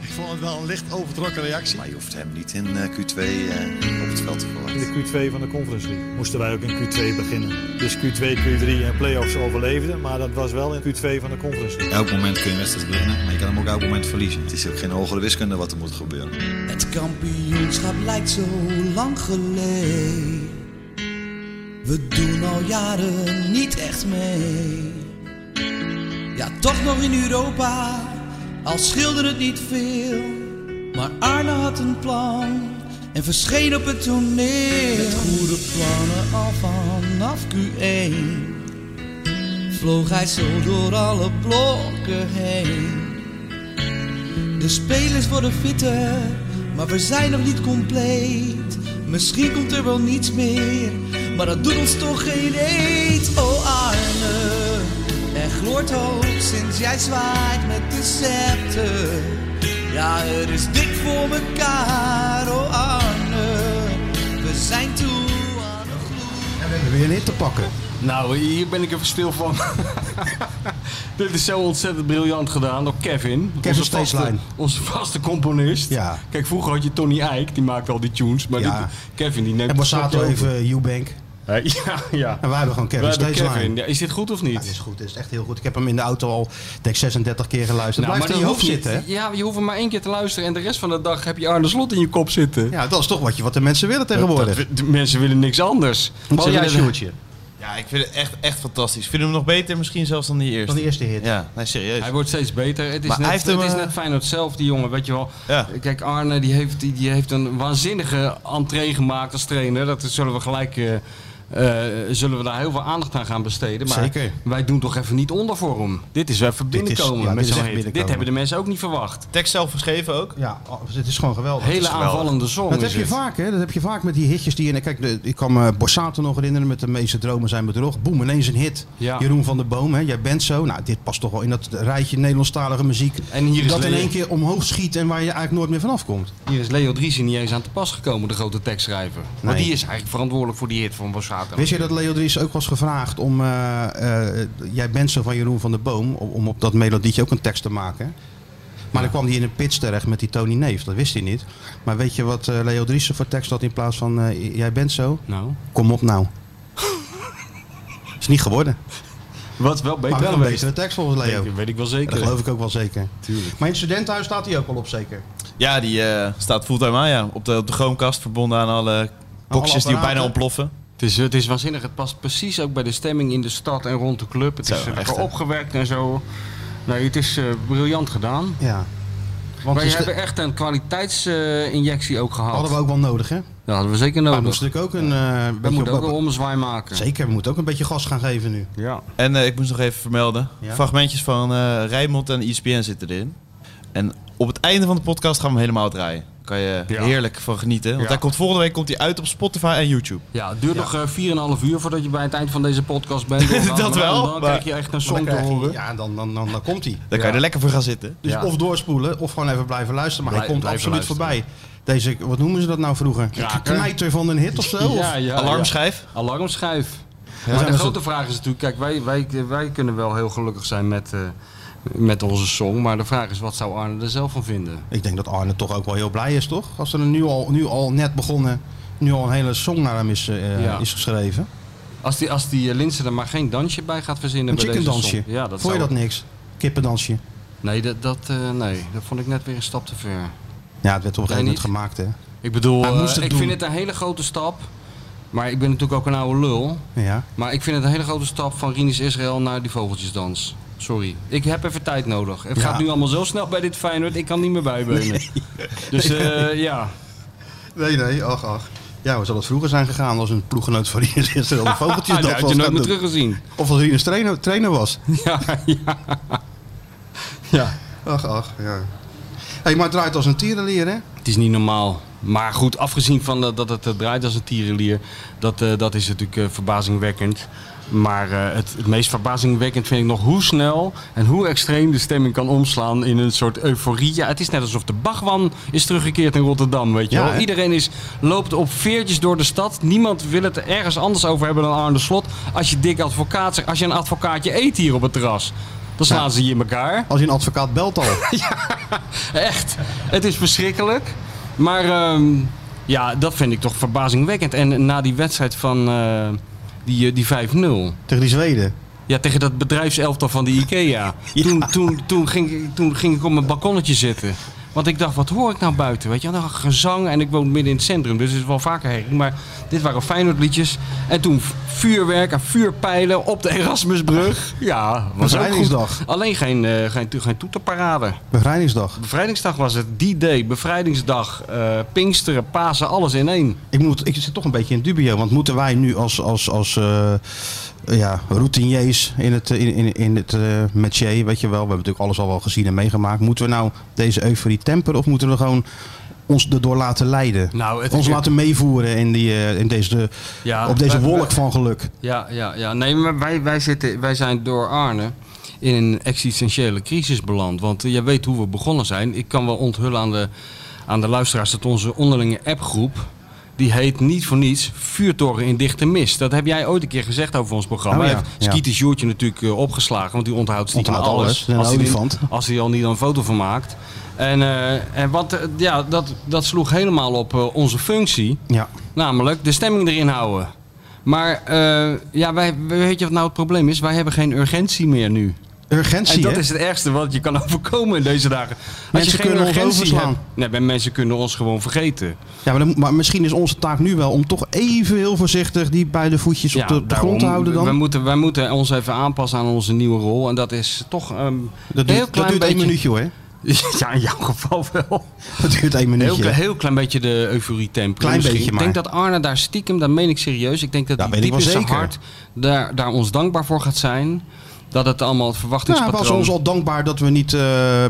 Ik vond het wel een licht overtrokken reactie. Maar je hoeft hem niet in eh, Q2 eh, op het veld te In verwachten. de Q2 van de Conference League moesten wij ook in Q2 beginnen. Dus Q2, Q3 en playoffs overleefden, maar dat was wel in Q2 van de Conference League. Elk moment kun je wedstrijd beginnen, maar je kan hem ook elk moment verliezen. Het is ook geen hogere wiskunde wat er moet gebeuren. Het kampioenschap lijkt zo lang geleden. We doen al jaren niet echt mee. Ja, toch nog in Europa, al schilderde het niet veel. Maar Arne had een plan en verscheen op het toneel. Met goede plannen al vanaf Q1 vloog hij zo door alle blokken heen. De spelers worden fitter, maar we zijn nog niet compleet. Misschien komt er wel niets meer, maar dat doet ons toch geen eet. Oh Arne, er gloort hoop sinds jij zwaait met de scepter. Ja, het is dik voor mekaar, oh Arne. We zijn toe aan de gloed. En we hebben weer een hit te pakken. Nou, hier ben ik even stil van. Dit is zo ontzettend briljant gedaan door Kevin. onze vaste, Steeslijn. Onze vaste componist. Ja. Kijk, vroeger had je Tony Eijk, die maakte al die tunes. Maar Ja. dit- Kevin, die neemt En het Borsato stokje over. even Eubank. Hey, Ja, ja. En wij hebben gewoon We Kevin hebben Steeslijn. Kevin. Ja, is dit goed of niet? Ja, dit is goed. Dit is echt heel goed. Ik heb hem in de auto al denk ik, 36 keer geluisterd. Nou, Blijft in dat je hoofd hoeft zitten, hè? niet. Ja, je hoeft hem maar één keer te luisteren en de rest van de dag heb je Arne Slot in je kop zitten. Ja, dat is toch wat, je, wat de mensen willen tegenwoordig. Dat- de mensen willen niks anders. Ze Bal jij willen- Sjoerdje? Ja, ik vind het echt, echt fantastisch. Ik vind hem nog beter misschien zelfs dan die eerste. Van de eerste hit. Ja, nee, serieus. Hij wordt steeds beter. Het is, Maar net, hij heeft hem, het is eh, net Feyenoord zelf, die jongen, weet je wel. Ja. Kijk, Arne die heeft, die, die heeft een waanzinnige entree gemaakt als trainer. Dat zullen we gelijk... eh, eh, zullen we daar heel veel aandacht aan gaan besteden. Maar Zeker. wij doen toch even niet onder voor hem. Dit is even Dit is- binnenkomen ja, dit met is zo'n echt hit. Dit binnenkomen. hebben de mensen ook niet verwacht. Tekst zelf geschreven ook. Ja, oh, het is gewoon geweldig. Hele Het is geweldig. aanvallende song Dat is heb je het. vaak, hè? Dat heb je vaak met die hitjes die in. Kijk, de- ik kan me Borsato nog herinneren met de meeste dromen zijn bedrog. Boem, ineens een hit. Ja. Jeroen van der Boom, hè? Jij bent zo. Nou, dit past toch wel in dat rijtje Nederlandstalige muziek. En hier is dat in Leo. één keer omhoog schiet en waar je eigenlijk nooit meer vanaf komt. Hier is Leo Driesen niet eens aan te pas gekomen, de grote tekstschrijver. Maar Nee. die is eigenlijk verantwoordelijk voor die hit van Bossato. Wist je dat Leo Dries ook was gevraagd om eh, eh, Jij bent zo van Jeroen van der Boom, om, om op dat melodietje ook een tekst te maken? Maar dan kwam hij in een pits terecht met die Tony Neef, dat wist hij niet. Maar weet je wat eh, Leo Driessen voor tekst had in plaats van eh, Jij bent zo? Nou, Kom op nou. Is niet geworden. wat wel beter maar wel een geweest. betere tekst volgens Leo. Dat weet ik wel zeker. Dat geloof ik ook wel zeker. Maar in het studentenhuis staat hij ook wel op zeker. Ja, die eh, staat fulltime aan, ja. Op de, op de chromekast, verbonden aan alle boxjes die apparaten. bijna ontploffen. Het is, het is waanzinnig. Het past precies ook bij de stemming in de stad en rond de club. Het Zo, is eh, echt, lekker hè? opgewerkt en zo. Nee, het is eh, briljant gedaan. Ja. Want Wij dus de- hebben echt een kwaliteitsinjectie ook gehad. hadden we Ah, ook wel nodig hè. Dat hadden we zeker Maar we nodig. moesten natuurlijk ook een eh, we beetje moeten op- ook een omzwaai maken. Zeker, we moeten ook een beetje gas gaan geven nu. Ja. En eh, ik moest nog even vermelden. Ja. Fragmentjes van eh Rijmond en ESPN zitten erin. En op het einde van de podcast gaan we hem helemaal draaien. Daar kan je Ja. heerlijk van genieten. Want Ja. hij komt volgende week komt hij uit op Spotify en YouTube. ja, het duurt nog eh, 4,5 uur voordat je bij het eind van deze podcast bent. Dan- Dat wel, Dan maar- krijg je echt een Dan song te krijg je- horen. Ja, dan, dan, dan, dan komt hij. Daar kan je er lekker voor gaan zitten. Dus Ja. of doorspoelen of gewoon even blijven luisteren. Maar Blij- hij komt blijven absoluut voorbij. Deze, wat noemen ze dat nou vroeger? Kraker. Knijter van een hit of zo? Ja, Of- ja, Alarmschijf. ja. Alarmschijf. zijn maar de we grote vraag is natuurlijk, kijk, wij, wij, wij kunnen wel heel gelukkig zijn met, eh, met onze song. Maar de vraag is, wat zou Arne er zelf van vinden? Ik denk dat Arne toch ook wel heel blij is, toch? Als er nu al, nu al net begonnen, nu al een hele song naar hem is, eh, Ja. is geschreven. Als die, als die eh, Linse er maar geen dansje bij gaat verzinnen. Een bij chicken deze dansje. song. Ja, dat Vond je zou- dat niks? Kippendansje. Nee dat, dat, eh, nee, dat vond ik net weer een stap te ver. Ja, het werd op een gegeven niet? moment gemaakt, hè? Ik bedoel, Hij eh, moest het ik doen. vind het een hele grote stap. Maar ik ben natuurlijk ook een oude lul. Ja. Maar ik vind het een hele grote stap van Rinus Israël naar die vogeltjesdans. Sorry. Ik heb even tijd nodig. Het Ja. gaat nu allemaal zo snel bij dit Feyenoord. Ik kan niet meer bijbenen. Dus eh, ja. Nee, nee, ach, ach. Ja, hoe zou dat vroeger zijn gegaan als een ploeggenoot van Rinus Israël de vogeltjes Ah, daar dat had je was nooit gaan doen? meer teruggezien. Of als Rinus trainer, trainer was. Ja, ja. ja. Ach, ach, ja. hey, maar het draait als een tierenlier, hè? Het is niet normaal. Maar goed, afgezien van dat, dat het eh, draait als een tierenlier, dat, eh, dat is natuurlijk eh, verbazingwekkend. Maar eh, het, het meest verbazingwekkend vind ik nog hoe snel en hoe extreem de stemming kan omslaan in een soort euforie. Ja, het is net alsof de Bagwan is teruggekeerd in Rotterdam, weet je Ja, wel. hè? Iedereen is, loopt op veertjes door de stad. Niemand wil het er ergens anders over hebben dan Arne Slot. Als je dik advocaat zegt, als je een advocaatje eet hier op het terras. Dan slaan ze je in elkaar. Als je een advocaat belt al. Echt. Het is verschrikkelijk. Maar ehm, ja, dat vind ik toch verbazingwekkend. En na die wedstrijd van eh, die, eh, die 5-0. tegen die Zweden. Ja, tegen dat bedrijfselftal van de IKEA. Toen, toen, toen, ging, ik- toen ging ik op mijn balkonnetje zitten. Want ik dacht, wat hoor ik nou buiten? Weet je, nou, gezang en ik woon midden in het centrum, dus het is wel vaker herrie. Maar dit waren Feyenoord liedjes. En toen vuurwerk en vuurpijlen op de Erasmusbrug. Ja, was ook goed. Bevrijdingsdag. Alleen geen, eh, geen, geen toeterparade. Bevrijdingsdag. Bevrijdingsdag was het, die day, bevrijdingsdag, eh, Pinksteren, Pasen, alles in één. Ik, moet, ik zit toch een beetje in dubio. Want moeten wij nu als, als, als eh, ja, routiniers in het, eh, in, in, in het eh métier, weet je wel. We hebben natuurlijk alles al wel gezien en meegemaakt. Moeten we nou deze euforie temperen of moeten we gewoon ons erdoor laten leiden? Nou, het- ons laten meevoeren in, die, eh, in deze, Ja, op deze we- we- wolk van geluk. Ja, ja, ja. Nee, maar wij, wij, zitten, wij zijn door Arne in een existentiële crisis beland. Want eh, jij weet hoe we begonnen zijn. Ik kan wel onthullen aan de, aan de luisteraars dat onze onderlinge appgroep... die heet niet voor niets Vuurtoren in dichte mist. Dat heb jij ooit een keer gezegd over ons programma. Oh ja, Hij heeft ja. Skeeter Sjoerdje natuurlijk eh, opgeslagen, want die onthoudt stiekem Onthoudt alles. alles. Een Als hij er- olifant. als hij er al niet een foto van maakt. En, eh, en wat, eh, ja, dat, dat sloeg helemaal op eh, onze functie. Ja. Namelijk de stemming erin houden. Maar eh, ja, wij, weet je wat nou het probleem is? Wij hebben geen urgentie meer nu. Urgentie, en dat hè? is het ergste wat je kan overkomen in deze dagen. Als Mensen je geen kunnen ons urgentie overslaan. hebt- nee, maar mensen kunnen ons gewoon vergeten. Ja, maar, dan moet- maar misschien is onze taak nu wel om toch even heel voorzichtig die beide voetjes op de, op de daarom, grond te houden dan. Wij moeten, wij moeten ons even aanpassen aan onze nieuwe rol. En dat is toch ehm, dat een duurt, heel dat klein duurt één beetje... minuutje hoor. Ja, in jouw geval wel. Dat duurt één Heel, minuutje. kle- hè? heel klein beetje de euforie temperen. Klein misschien. beetje maar. Ik denk dat Arne daar stiekem, dat meen ik serieus. Ik denk dat Dat die weet ik diep wel in zijn zeker. hart daar, daar ons dankbaar voor gaat zijn. Dat het allemaal het Nou, hij verwachtingspatroon... was ons al dankbaar dat we niet eh,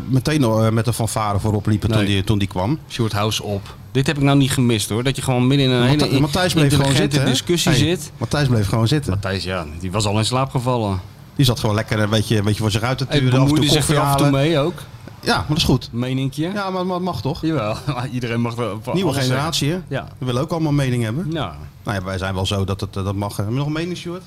meteen al, eh, met de fanfare voorop liepen toen, Nee. die, toen die kwam. Short House op. Dit heb ik nou niet gemist hoor. Dat je gewoon midden in een hele Mathij- in- Matthijs bleef gewoon intelligente zitten. hè? discussie Hey, zit. Matthijs bleef gewoon zitten. Matthijs, ja, die was al in slaap gevallen. Die zat gewoon lekker een beetje, een beetje voor zich uit te Hij turen. Af en bemoeide toe zich koffie er af en toe halen. mee ook. Ja, maar dat is goed. Meninkje. Ja, maar maar dat mag toch? Jawel, iedereen mag wel. van Nieuwe alles zeggen. generatie, hè? Ja. We willen ook allemaal mening hebben. Nou, Nou ja, wij zijn wel zo dat het, eh, dat mag. Heb je nog een mening, Stuart?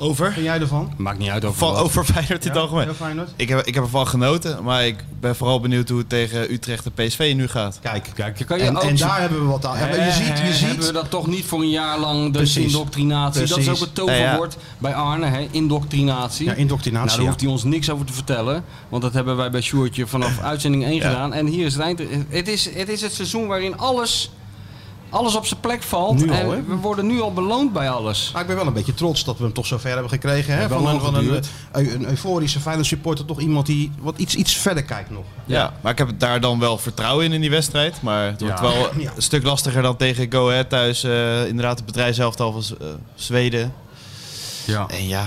Over? Ben jij ervan? maakt niet uit over Van, wat. over Feyenoord in het algemeen. Heel fijn, hoor. Ik heb, ik heb ervan genoten, maar ik ben vooral benieuwd hoe het tegen Utrecht en PSV nu gaat. Kijk. Kijk, je kan je En, ook en zo- daar hebben we wat aan. En je ziet, je Eh, Hebben we ziet. dat toch niet voor een jaar lang, dus Precies. indoctrinatie. Dat Precies. Nou is ook het Ja, ja. toverwoord bij Arne, hè? indoctrinatie. Ja, indoctrinatie. nou, daar ja. hoeft hij ons niks over te vertellen. Want dat hebben wij bij Sjoertje vanaf uitzending 1 gedaan. En hier is het eind. Het is het, is het seizoen waarin alles, alles op zijn plek valt. Nu al, en hè? we worden nu al beloond bij alles. Maar ik ben wel een beetje trots dat we hem toch zover hebben gekregen. Hè? Hebben we Van, een, wel van een, geduurd. eu- een euforische Feyenoord supporter toch iemand die wat iets, iets verder kijkt nog. Ja. maar ik heb daar dan wel vertrouwen in in die wedstrijd. Maar het wordt Ja. wel Ja. een stuk lastiger dan tegen Go Ahead thuis. eh, inderdaad, het bedrijfselftal van Z- eh, Zweden. Ja. En ja,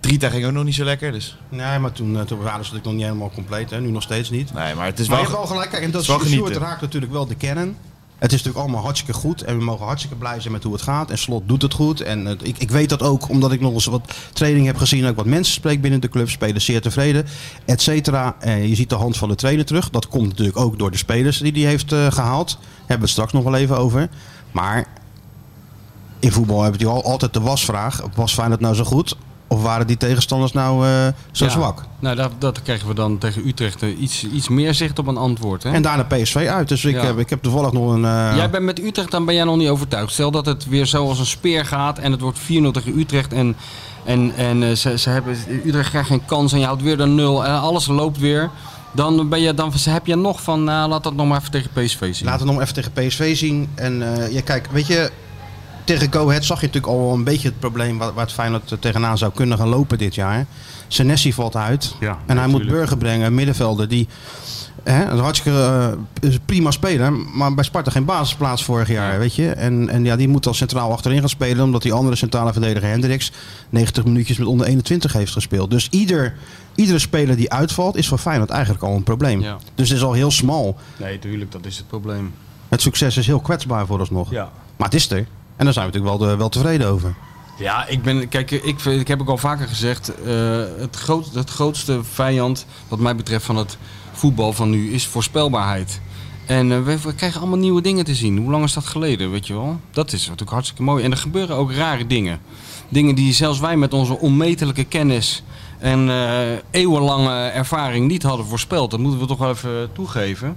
Drita ging ook nog niet zo lekker. Dus Nee, maar toen, eh, toen waren ze natuurlijk nog niet helemaal compleet. Hè? Nu nog steeds niet. nee, maar het is maar je wel... hebt wel gelijk. Kijk, en dat het is wel Sjoerd genieten. raakt natuurlijk wel de kern. Het is natuurlijk allemaal hartstikke goed. En we mogen hartstikke blij zijn met hoe het gaat. En Slot doet het goed. En eh, ik, ik weet dat ook omdat ik nog eens wat training heb gezien. Ook wat mensen spreek binnen de club. Spelers zeer tevreden. Et cetera. Eh, je ziet de hand van de trainer terug. Dat komt natuurlijk ook door de spelers die hij heeft eh, gehaald. Daar hebben we het straks nog wel even over. Maar in voetbal hebben we al altijd de wasvraag. Was Feyenoord nou zo goed? Of waren die tegenstanders nou eh, zo Ja. zwak? Nou, daar, daar krijgen we dan tegen Utrecht eh, iets, iets meer zicht op een antwoord. Hè? En daarna PSV uit. Dus ik, Ja. heb, ik heb toevallig nog een... eh, Jij bent met Utrecht, dan ben jij nog niet overtuigd. Stel dat het weer zo als een speer gaat en het wordt 4-0 tegen Utrecht. En, en, en eh, ze, ze hebben, Utrecht krijgt geen kans en je houdt weer de nul en alles loopt weer. Dan, ben je, dan heb je nog van, nou, laat dat nog maar even tegen PSV zien. Laten we hem even tegen PSV zien. En eh ja, kijk, weet je, tegen Go Ahead zag je natuurlijk al wel een beetje het probleem waar, waar het Feyenoord eh, tegenaan zou kunnen gaan lopen dit jaar. Senesi valt uit. Ja, en hij moet Burger brengen, een middenvelder die hè, een hartstikke eh, prima speler, maar bij Sparta geen basisplaats vorig jaar, weet je. En, en ja, die moet dan centraal achterin gaan spelen, omdat die andere centrale verdediger Hendricks 90 minuutjes met onder 21 heeft gespeeld. Dus ieder, iedere speler die uitvalt is voor Feyenoord eigenlijk al een probleem. Ja. Dus het is al heel smal. Nee, tuurlijk, dat is het probleem. Het succes is heel kwetsbaar voor ons nog. Ja. Maar het is er. En daar zijn we natuurlijk wel, de- wel tevreden over. Ja, ik ben, kijk, ik, vind- ik heb ook al vaker gezegd, eh, het, groot, het grootste vijand wat mij betreft van het voetbal van nu is voorspelbaarheid. En eh, we, we krijgen allemaal nieuwe dingen te zien. Hoe lang is dat geleden, weet je wel? Dat is natuurlijk hartstikke mooi. En er gebeuren ook rare dingen. Dingen die zelfs wij met onze onmetelijke kennis en eh, eeuwenlange ervaring niet hadden voorspeld. Dat moeten we toch wel even toegeven.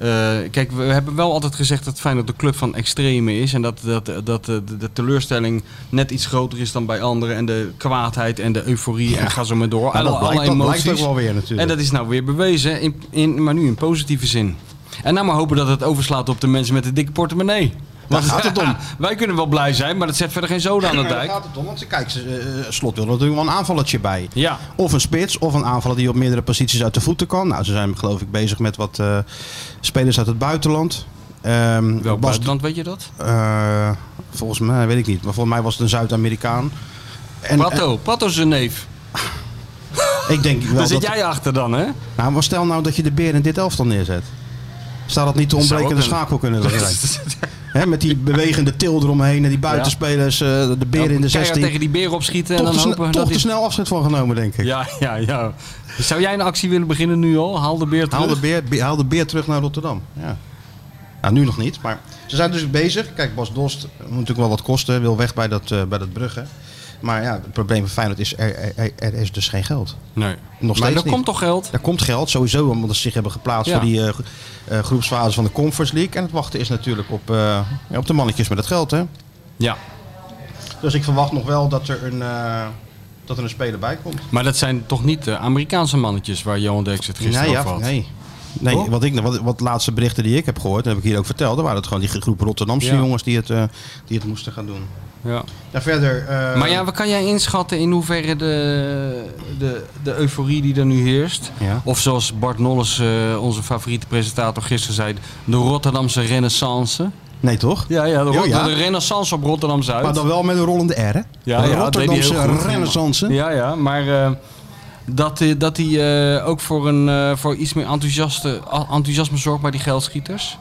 Eh, kijk, we hebben wel altijd gezegd dat Feyenoord de club van extreme is. En dat, dat, dat eh, de, de teleurstelling net iets groter is dan bij anderen. En de kwaadheid en de euforie en ga zo maar door. Nou, alle, dat blijkt, alle dat emoties. blijkt ook wel weer natuurlijk. En dat is nou weer bewezen, in, in, maar nu in positieve zin. En nou maar hopen dat het overslaat op de mensen met de dikke portemonnee. Daar gaat het om. Wij kunnen wel blij zijn, maar dat zet verder geen zoden aan de Maar daar dijk. gaat het om, want kijk, ze- eh, eh, Slot wil er natuurlijk wel een aanvallertje bij. Ja. Of een spits, of een aanvaller die op meerdere posities uit de voeten kan. Nou, ze zijn geloof ik bezig met wat eh, spelers uit het buitenland. Ehm Welk Bas- buitenland weet je dat? eh, volgens mij, weet ik niet. Maar volgens mij was het een Zuid-Amerikaan. En, Pato, Pato is een neef. eh, ik denk wel Daar zit dat... jij achter dan, hè? Nou, maar stel nou dat je de beer in dit elftal neerzet. Zou dat niet de ontbrekende Zou schakel kunnen zijn? Hè, met die bewegende til eromheen en die buitenspelers, eh, de beer in de Keihard 16. tegen die beer opschieten en toch te, dan sne- hopen toch dat te hij... snel afscheid van genomen, denk ik. Ja, ja, ja. Zou jij een actie willen beginnen nu al? Haal de beer terug. Haal de beer, be- haal de beer terug naar Rotterdam. Ja. Nou, nu nog niet, maar ze zijn dus bezig. Kijk, Bas Dost moet natuurlijk wel wat kosten, wil weg bij dat, eh, bij dat Brugge. Maar ja, het probleem van Feyenoord is, er, er- er, er is dus geen geld. Nee. Nog maar steeds er niet. komt toch geld? Er komt geld, sowieso, omdat ze zich hebben geplaatst Ja. voor die eh, gro- eh, groepsfase van de Conference League. En het wachten is natuurlijk op, eh, ja, op de mannetjes met het geld, hè. Ja. Dus ik verwacht nog wel dat er een, eh, dat er een speler bij komt. Maar dat zijn toch niet de Amerikaanse mannetjes waar Johan Deks het gisteren nee, over had? nee. Nee, Toch? wat, ik, wat, wat laatste berichten die ik heb gehoord, en heb ik hier ook verteld, dan waren het gewoon die groep Rotterdamse Ja. jongens die het, eh, die het moesten gaan doen. Ja. Ja, verder. eh, Maar ja, wat kan jij inschatten in hoeverre de, de, de euforie die er nu heerst? Ja. Of zoals Bart Nolles, eh, onze favoriete presentator, gisteren zei, de Rotterdamse renaissance. Nee, toch? Ja, ja, de, Jo, ja. de renaissance op Rotterdam-Zuid. Maar dan wel met een rollende R, hè? Ja, Een ja, dat deed hij Rotterdamse heel goed. renaissance. Ja, ja, maar eh, dat, eh, dat die eh, ook voor, een, eh, voor iets meer enthousiaste, a- enthousiasme zorgt bij die geldschieters?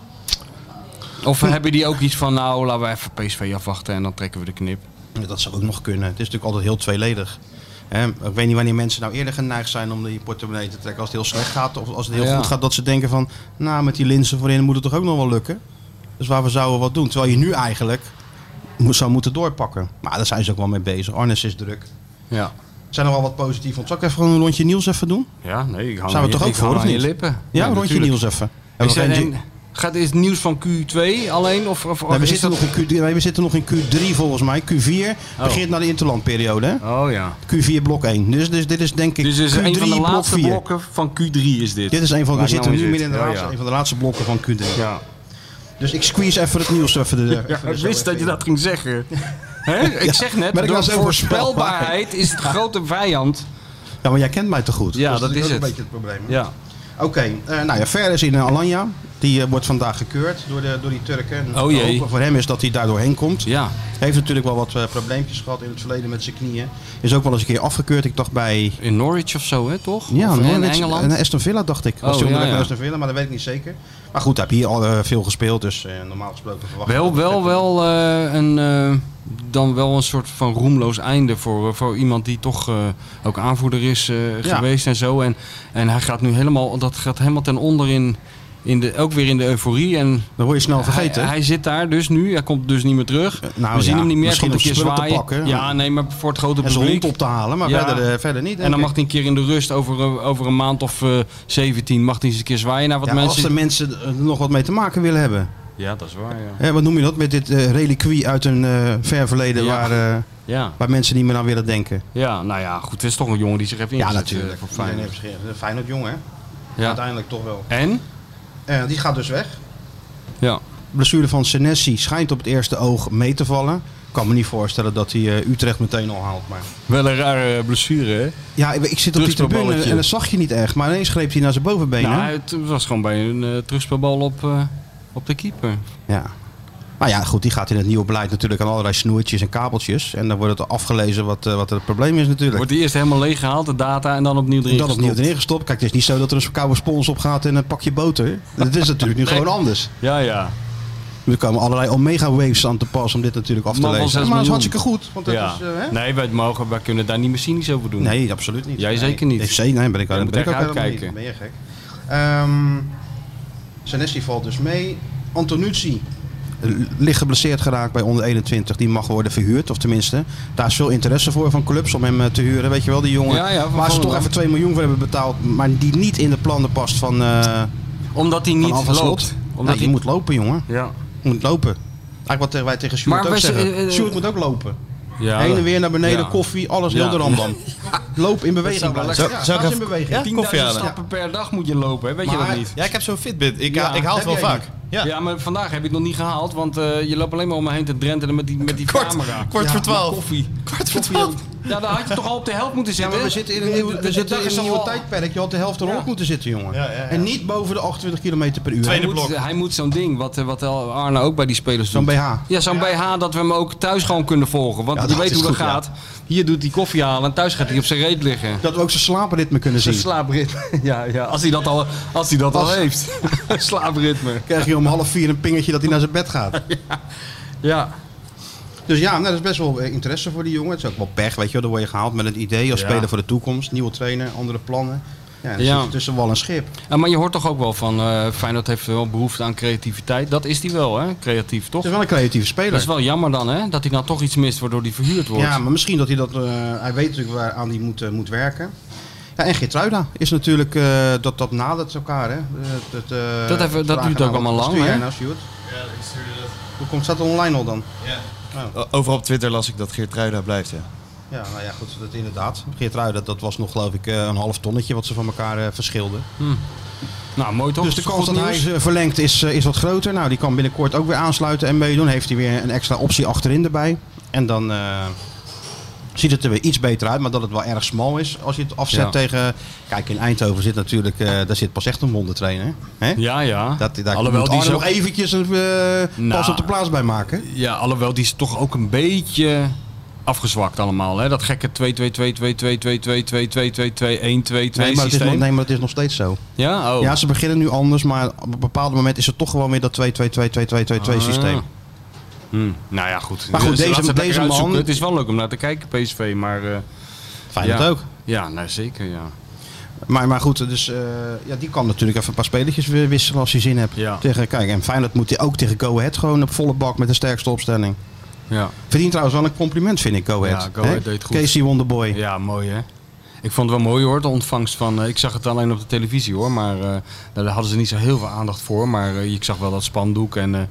Of Hm. hebben die ook iets van, nou, laten we even PSV afwachten en dan trekken we de knip? Ja, Dat zou ook nog kunnen. Het is natuurlijk altijd heel tweeledig. Hè, ik weet niet wanneer mensen nou eerder geneigd zijn om die portemonnee te trekken als het heel slecht gaat. Of als het heel Ja. goed gaat, dat ze denken van, nou met die linzen voorin moet het toch ook nog wel lukken. Dus waarvoor zouden we wat doen? Terwijl je nu eigenlijk moet, zou moeten doorpakken. Maar daar zijn ze ook wel mee bezig. Arnes is druk. Ja. Zijn er wel wat positief Zal ik even gewoon een rondje Niels even doen? Ja, nee, ik hou Zijn we aan je- toch ook ik hou voor, of aan niet? je lippen. Ja, een rondje natuurlijk. Niels even. Ik Hebben we zei, geen- en, gaat is het nieuws van Q2 alleen? Of, of, Nee, of we, is zitten dat- nog in Q3, nee, we zitten nog in Q3 volgens mij. Q4 begint naar de interlandperiode. Hè? Oh ja. Q4 blok 1. Dus, dus dit is denk ik Dus is Q3 een van de blok laatste 4. blokken van Q3 is dit. Dit is een van, we Waar zitten nou nu in midden in zit. de Ja, laatste, ja. een van de laatste blokken van Q3. Ja. Dus ik squeeze even het nieuws even. De, Ja, even ik er zo wist dat je even dat ging zeggen. Hè? Ik zeg net, maar ik door was zo voorspelbaarheid is het grote vijand. in. Ja, maar jij kent mij te goed. Ja, Dus dat is ook het. een beetje het probleem. hè? Ja. Oké, eh, nou ja, Fer is in eh, Alanya. Die eh, wordt vandaag gekeurd door, de, door die Turken. En Oh, jee. de hoop voor hem is dat hij daar doorheen komt. Ja. Heeft natuurlijk wel wat eh, probleempjes gehad in het verleden met zijn knieën. Is ook wel eens een keer afgekeurd. Ik dacht bij In Norwich of zo, hè, toch? Ja, Of nee, in net- Engeland. eh, naar Aston Villa dacht ik. Was Oh, hij onderweg ja, ja. naar Aston Villa, maar dat weet ik niet zeker. Maar goed, hij heeft hier al eh, veel gespeeld, dus eh, normaal gesproken verwacht Wel, ik- wel, wel eh, een, eh, dan wel een soort van roemloos einde voor, eh, voor iemand die toch eh, ook aanvoerder is eh, Ja. geweest en zo. En, en hij gaat nu helemaal, dat gaat helemaal ten onder in, in de, ook weer in de euforie. En Dan word je snel vergeten. Hij, hij zit daar dus nu, hij komt dus niet meer terug. nou We zien ja, hem niet meer, misschien komt een om keer spullen te zwaaien. pakken. ja, nee, maar voor het grote en zijn publiek. hond op te halen, maar Ja. verder, eh, verder niet. En dan denk mag ik. hij een keer in de rust, over, een- over een maand of eh 17, mag hij eens een keer zwaaien naar wat Ja, Als de mensen... mensen er nog wat mee te maken willen hebben. Ja, dat is waar, ja. Hè, wat noem je dat met dit eh, reliquie uit een eh, ver verleden Ja. waar, eh, ja. waar mensen niet meer aan willen denken? Ja, nou ja, goed, het is toch een jongen die zich heeft ingezet eh, voor Feyenoord. Feyenoord jong hè? Ja. Uiteindelijk toch wel. En? Eh, die gaat dus weg. Ja. Blessure van Senesi schijnt op het eerste oog mee te vallen. Ik kan me niet voorstellen dat hij eh, Utrecht meteen al haalt. Maar... Wel een rare blessure, hè? Ja, ik, ik zit op die tribune Terugspelballetje. en dat zag je niet echt. Maar ineens greep hij naar zijn bovenbenen. Nou, het was gewoon bij een eh, terugspelbal op, eh, op de keeper. Ja. Maar ja, goed, die gaat in het nieuwe beleid natuurlijk aan allerlei snoertjes en kabeltjes. En dan wordt het afgelezen wat, eh, wat het probleem is natuurlijk. Wordt eerst helemaal leeggehaald, de data, en dan opnieuw erin dat opnieuw gestopt. erin gestopt. Kijk, het is niet zo dat er een koude spons op gaat en een pakje boter. Dat is natuurlijk nu gewoon anders. Ja, ja. Er komen allerlei omega waves aan te pas om dit natuurlijk af te Man van lezen. zes Maar dat is miljoen. hartstikke goed. Want dat ja. is, eh, hè? nee, wij, mogen, wij kunnen daar niet meer cynisch over doen. Nee, absoluut niet. Jij Nee. zeker niet. FC, nee, ben ik, Jij ben moet ik echt ook helemaal uitkijken. niet. Ben je gek. Ehm Senesi valt dus mee. Antonucci licht geblesseerd geraakt bij onder 21. Die mag worden verhuurd. Of tenminste, daar is veel interesse voor van clubs om hem eh, te huren. Weet je wel, die jongen Ja, ja, van waar ze toch Volendam. even 2 miljoen voor hebben betaald. Maar die niet in de plannen past van, eh van Omdat hij niet Alfa Slot. loopt. Nee, Omdat je hij- moet lopen, jongen. Ja. Je moet lopen. Eigenlijk wat tegen- wij tegen Sjoerd Maar ook we- zeggen. eh, eh, Sjoerd moet ook lopen. ja. Heen en weer naar beneden, Ja. koffie, alles heel Ja. de rambam. Loop in beweging zou wel blijven. lekker- Ja, Zou- zou plaats ik in beweging. 10.000 koffie halen. stappen per dag moet je lopen, hè? weet je Maar- dat niet? Ja, ik heb zo'n Fitbit. Ik, eh, Ja, ik haal het heb wel jij vaak. niet? Ja. Ja. maar vandaag heb je het nog niet gehaald, want eh, je loopt alleen maar om me heen te drentelen met die, met die Kwart- camera. kwart voor met twaalf. Koffie. Kwart voor Koffie. twaalf. Ja, dan had je toch al op de helft moeten Ja, zitten. maar we zitten in een nieuw, we zitten in een nieuw tijdperk. Je had de helft eronder Ja. moeten zitten, jongen. Ja, ja, ja. En niet boven de 28 km per uur. Hij Tweede moet, blok. hij moet zo'n ding, wat, eh, wat El- Arne ook bij die spelers Zo'n doet. BH. Ja, zo'n BH dat we hem ook thuis gewoon kunnen volgen. Want je weet hoe dat gaat. Hier doet hij koffie halen en thuis gaat hij op zijn reet liggen. Dat we ook zijn slaapritme kunnen Zijn zien. slaapritme. Ja, ja, als hij dat al, als hij dat al heeft. slaapritme. krijg je om half vier een pingetje dat hij naar zijn bed gaat. Ja. Dus ja, nou, dat is best wel eh, interesse voor die jongen. Het is ook wel pech, weet je wel. Dan word je gehaald met een idee als Ja. speler voor de toekomst. Nieuwe trainer, andere plannen. Ja, en dan Ja. zit je tussen wal en schip. Ja, maar je hoort toch ook wel van eh Feyenoord heeft wel behoefte aan creativiteit. Dat is die wel, hè? Creatief, toch? Het is wel een creatieve speler. Dat is wel jammer dan, hè? Dat hij dan toch iets mist waardoor hij verhuurd wordt. Ja, maar misschien dat hij dat... eh, hij weet natuurlijk waar aan hij moet, eh, moet werken. Ja, en Geertruida is natuurlijk... eh, dat, dat nadert elkaar, hè. Dat, dat, eh, Dat even- dat vragen duurt ook aan- allemaal wat lang, stuur jij hè? nou, Sjoerd? Hoe komt dat online al dan? O- Overal op Twitter las ik dat Geert Ruida blijft. Ja. Ja, nou ja, goed, dat inderdaad. Geertruida, dat, dat was nog geloof ik eh, een half tonnetje wat ze van elkaar eh, verschilden. Nou, mooi toch? dus de Is toch kans goed dat hij nieuws? ze verlengt is, eh, is wat groter. Nou, die kan binnenkort ook weer aansluiten en meedoen. Heeft hij weer een extra optie achterin erbij. En dan eh, ziet het er weer iets beter uit, maar dat het wel erg smal is als je het afzet Ja. tegen... Kijk, in Eindhoven zit natuurlijk, eh, daar zit pas echt een wondertrainer. Hè? Ja, ja. Dat, daar alhoewel, moet die Arne is ook, nog eventjes een eh, Nou. pas op de plaats bij maken. ja, alhoewel die is toch ook een beetje afgezwakt allemaal, hè? Dat gekke 2-2-2-2-2-2-2-2-2-2-2-2-2-1-2-2 Nee maar, het is nog, systeem. nee, maar het is nog steeds zo. Ja? Oh. Ja, ze beginnen nu anders, maar op een bepaald moment is het toch gewoon weer dat 2-2-2-2-2-2-2 systeem. Ah. Hm, Nou ja, goed. Maar goed, Dus deze- laat ze lekker deze man- uitzoeken. Het is wel leuk om naar te kijken, PSV, maar... eh, Fijn ja. dat ook. Ja, nou zeker, ja. Maar, maar goed, dus, eh, ja, die kan natuurlijk even een paar spelletjes weer wisselen als hij zin hebt. Ja. Tegen, kijk, en Feyenoord moet hij ook tegen Go Ahead gewoon op volle bak met de sterkste opstelling. Ja. Verdient trouwens wel een compliment, vind ik, Go Ahead. Ja, Go Hè? Ahead deed goed. Casey Wonderboy. Ja, mooi hè. Ik vond het wel mooi hoor, de ontvangst van... eh, ik zag het alleen op de televisie hoor, maar eh, daar hadden ze niet zo heel veel aandacht voor. Maar eh, ik zag wel dat spandoek en eh,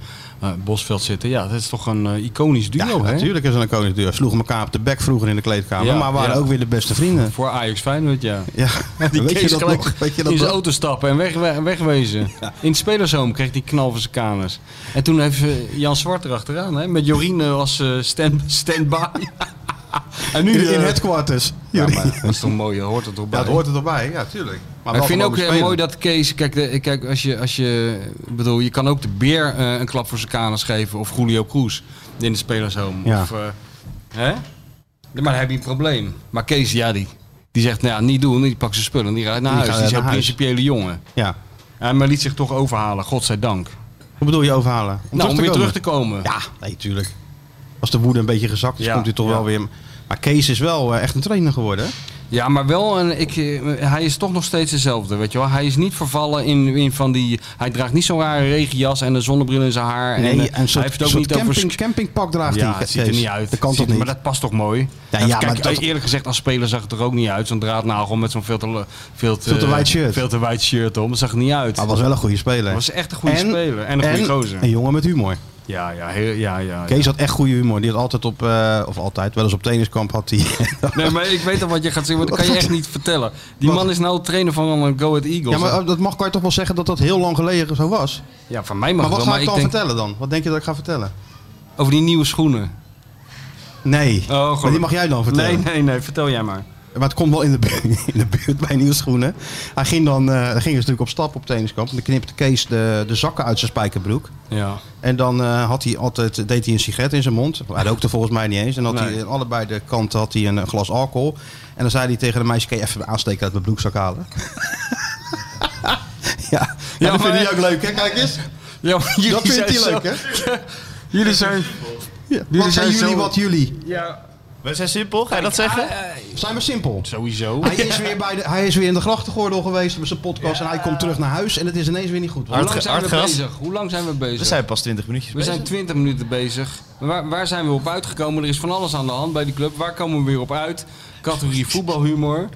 eh, Bosveld zitten. Ja, dat is toch een eh, iconisch duo hè? natuurlijk is er een koningsduur. Sloegen elkaar op de bek vroeger in de kleedkamer, Ja, maar waren ja. ook weer de beste vrienden. Voor Ajax Feyenoord, ja. Ja, Die weet, je Kees dat gelijk nog? weet je dat in nog? zijn auto stappen en wegwe- wegwezen. In het spelershome kreeg hij knal van zijn kaners. En toen heeft eh, Jan Zwart erachteraan, hè? met Jorien eh, als eh, stand- stand-by. en nu... In, in eh, headquarters. ja, Ja, maar dat is toch mooi, hoor. hoort het toch bij. dat hoort er toch bij? Ja, tuurlijk. Maar Maar wel ik vind gewoon ook de eh, speler. mooi dat Kees, kijk, de, kijk als je, als je, ik bedoel, je kan ook de beer eh, een klap voor zijn kanus geven of Julio Cruz in de spelershome. Ja. Of, eh, hè? Maar dan heb je een probleem. Maar Kees, ja, die, die zegt, nou ja, niet doen, die pakt zijn spullen en die rijdt naar Die huis. gaat Die is naar een huis. principiële jongen. Ja. Ja, maar liet zich toch overhalen, godzijdank. Hoe bedoel je overhalen? Om nou, om weer komen? terug te komen. Ja, nee, tuurlijk. Als de woede een beetje gezakt is, Ja, komt hij toch ja. wel weer. Maar Kees is wel eh, echt een trainer geworden. hè? Ja, maar wel, een, ik, eh, hij is toch nog steeds dezelfde, weet je wel. Hij is niet vervallen in, in van die, hij draagt niet zo'n rare regenjas en een zonnebril in zijn haar. en, eh, en een hij soort, heeft het ook soort niet over camping, campingpak draagt hij. Ja, het ziet er Kees. niet uit. Dat kan Ziet- toch niet? Maar dat past toch mooi? Ja, En ja, kijk, maar dat- eerlijk gezegd, als speler zag het er ook niet uit. Zo'n draadnagel met zo'n veel te, veel te, Veel te wijd shirt. Veel te wijd shirt om. Dat zag er niet uit. Maar hij was wel een goede speler. Hij was echt een goede En- speler. En een goede gozer. Een jongen met humor. Ja, ja, heel, ja, ja. ja. Kees had echt goede humor. Die had altijd op, eh, of altijd, wel eens op tenniskamp had hij. Nee, maar ik weet al wat je gaat zeggen, want dat kan je echt niet vertellen. Die man is nou trainer van een Go Ahead Eagles. ja, maar oh, dat mag kan je toch wel zeggen dat dat heel lang geleden zo was. Ja, van mij mag maar wat het wel, ga maar ik ik dan denk vertellen dan? Wat denk je dat ik ga vertellen? over die nieuwe schoenen. Nee. Oh, gelukkig. maar die mag jij dan vertellen. Nee, nee, nee, vertel jij maar. Maar het komt wel in de, bu- in de buurt bij Nieuwschoenen. Hij ging dan, eh ging dus natuurlijk op stap op tenniskamp. En dan knipte Kees de, de zakken uit zijn spijkerbroek. Ja. En dan eh, had hij altijd, deed hij een sigaret in zijn mond. Hij rookte volgens mij niet eens. En had hij, Nee. aan allebei de kanten had hij een, een glas alcohol. En dan zei hij tegen de meisje, kan je even de aansteker uit mijn broekzak halen? ja, ja dat maar- vind ik ook leuk hè, kijk eens. ja maar jullie Dat vindt zijn hij zo- leuk hè. Jullie zijn... Wat zijn zijn jullie, zo- wat jullie? Ja. Wij zijn simpel, ga je dat Ah, zeggen? Zijn we simpel. Sowieso. Hij is, weer bij de, hij is weer in de grachtengordel geweest met zijn podcast. En hij komt terug naar huis. En het is ineens weer niet goed. Hoe lang Hard- zijn we hard gas. bezig? Hoe lang zijn we bezig? We zijn pas 20 minuutjes We zijn 20 minuten bezig. Waar, waar zijn we op uitgekomen? Er is van alles aan de hand bij die club. Waar komen we weer op uit? Categorie voetbalhumor.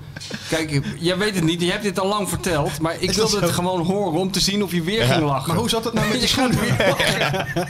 Kijk, jij weet het niet. Je hebt dit al lang verteld. Maar ik wilde het gewoon horen om te zien of je weer ging lachen. Maar hoe zat het nou met je schoenen?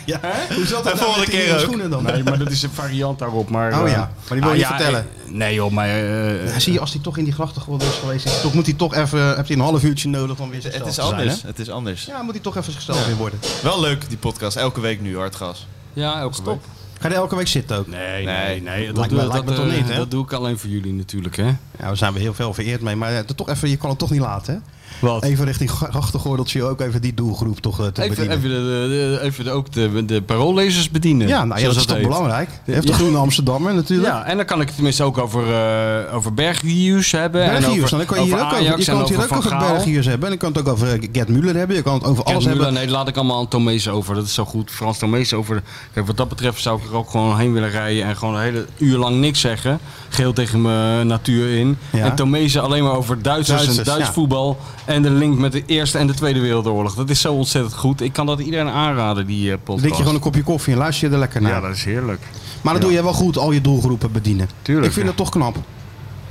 ja. Hoe zat het nou volgende met die keer nieuwe ook. schoenen dan? Nee, maar dat is een variant daarop. Maar, Oh eh, ja, maar die wil je niet vertellen. eh, nee joh, maar... eh, Ja, zie je, als hij toch in die grachtengordel is geweest, is, toch moet hij toch even, hebt hij een half uurtje nodig om weer zichzelf Het te is zijn. anders. hè? het is anders. Ja, moet hij toch even zichzelf weer worden. Wel leuk, die podcast. Elke week nu, hardgas. ja, elke week. Ga je elke week zitten ook? Nee, nee, Nee. nee. Dat, Lijkt me- doe, lijkt me dat, toch eh, niet, hè? dat doe ik alleen voor jullie natuurlijk, hè? Ja, daar zijn we heel veel vereerd mee. Maar eh, toch even, je kan het toch niet laten, hè? Wat? Even richting grachtengordeltje ook even die doelgroep toch eh, te Even, bedienen. even, de, de- de- even de- ook de, de paroollezers bedienen. ja, nou ja, zoals dat is toch heet. belangrijk. Je hebt de Ja. groene Amsterdammer natuurlijk. Ja, en dan kan ik het tenminste ook over, eh over bergviews hebben. en Berghuis, over- nou, dan kan je hier over ook over, je Ajax en kan het hier ook Van over Gaal. Berghuis hebben. En je kan het ook over Gerd Muller hebben. Je kan het over Kijk, alles nu hebben. dan- nee, laat ik allemaal aan Tomees over. Dat is zo goed. Frans Tomees over. Kijk, wat dat betreft zou ik er ook gewoon heen willen rijden en gewoon een hele uur lang niks zeggen. Geel tegen mijn eh, natuur in. Ja. En Tomees alleen maar over Duitsers, Duitsers, en Duits ja. voetbal. En de link met de Eerste en de Tweede Wereldoorlog. Dat is zo ontzettend goed. Ik kan dat iedereen aanraden, die eh, Dan podcast. drink je gewoon een kopje koffie en luister je er lekker naar. Ja, dat is heerlijk. maar dat doe je wel goed, al je doelgroepen bedienen. Tuurlijk, Ik vind ja. dat toch knap.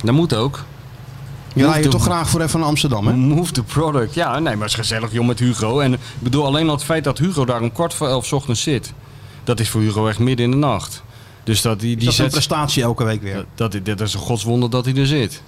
Dat moet ook. Je rijdt doe- toch graag voor even naar Amsterdam, hè? Move the product. Ja, nee, maar het is gezellig, joh, met Hugo. En ik bedoel, alleen al het feit dat Hugo daar om kwart voor elf 's ochtends zit. Dat is voor Hugo echt midden in de nacht. Dus dat, die, die Die dat is een zet- Eh. prestatie elke week weer. dat, dat, dat is een godswonder dat hij er zit.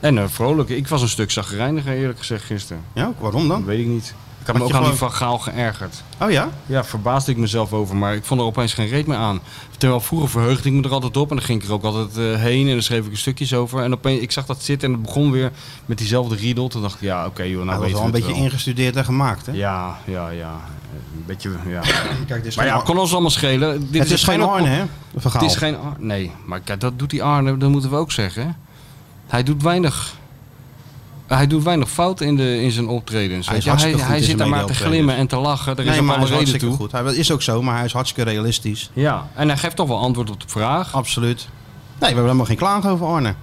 En eh, vrolijk. Ik was een stuk zagrijniger, eerlijk gezegd, gisteren. Ja, ook, waarom Dat dan? weet ik niet. Ik had Had me je ook aan gewoon- die Van Gaal geërgerd. Oh ja? Ja, verbaasde ik mezelf over, maar ik vond er opeens geen reet meer aan. Terwijl vroeger verheugde ik me er altijd op en dan ging ik er ook altijd eh, heen en dan schreef ik er stukjes over. En opeens, ik zag dat zitten en het begon weer met diezelfde riedel. Toen dacht ik, ja, oké joh, nou dat was weten wel we een het beetje ingestudeerd en gemaakt, hè? Ja, ja, ja. Een beetje, ja. Kijk, dit is maar ja, kon ons allemaal schelen. Dit het is geen Arne, hè? Het Verhaal. is geen Arne. Nee, maar kijk, dat doet die Arne, dat moeten we ook zeggen. Hij doet weinig... Hij doet weinig fout in, de, in zijn optredens. Hij weet is je. Hij, hartstikke hij, goed in zit zijn daar maar te mede-optredens. glimmen en te lachen. Er is Nee, ook maar hij alle is reden hartstikke toe. goed. Hij dat is ook zo, maar hij is hartstikke realistisch. Ja, en hij geeft toch wel antwoord op de vraag. Absoluut. Nee, we hebben helemaal geen klagen over Arne.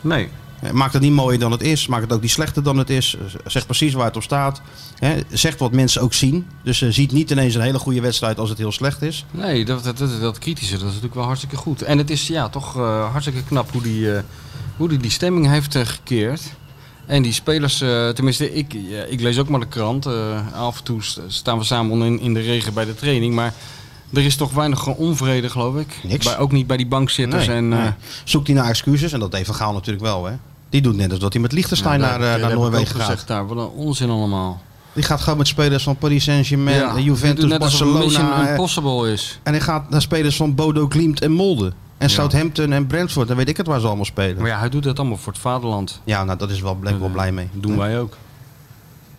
Nee. Eh, Maak het niet mooier dan het is. Maak het ook niet slechter dan het is. Eh, Zeg precies waar het op staat. Hè, Zeg wat mensen ook zien. Dus eh, ziet niet ineens een hele goede wedstrijd als het heel slecht is. Nee, dat, dat, dat, dat kritische, dat is natuurlijk wel hartstikke goed. En het is ja, toch eh, hartstikke knap hoe die, eh, hoe die, die stemming heeft eh, gekeerd. En die spelers, eh, tenminste, ik, ja, ik lees ook maar de krant. eh, af en toe st- staan we samen in, in de regen bij de training. Maar er is toch weinig onvrede, geloof ik. Niks. Bij, ook niet bij die bankzitters. Nee, en, eh, nee. Zoekt hij naar excuses. En dat heeft Van Gaal natuurlijk wel. Hè. Die doet net alsof dat hij met Liechtenstein nou, naar, daar- eh, daar naar heb ik Noorwegen ook gaat. gezegd daar, wat een onzin allemaal. Die gaat gewoon met spelers van Paris Saint-Germain, eh, Ja, die doet Juventus, net alsof het Mission Barcelona. eh, Impossible is. En hij gaat naar spelers van Bodo Glimt en Molde. En Southampton en Brentford. Dan weet ik het waar ze allemaal spelen. Maar Ja, ja, hij doet dat allemaal voor het vaderland. nou, dat is wel, ben ik wel blij mee. Dat doen wij ook.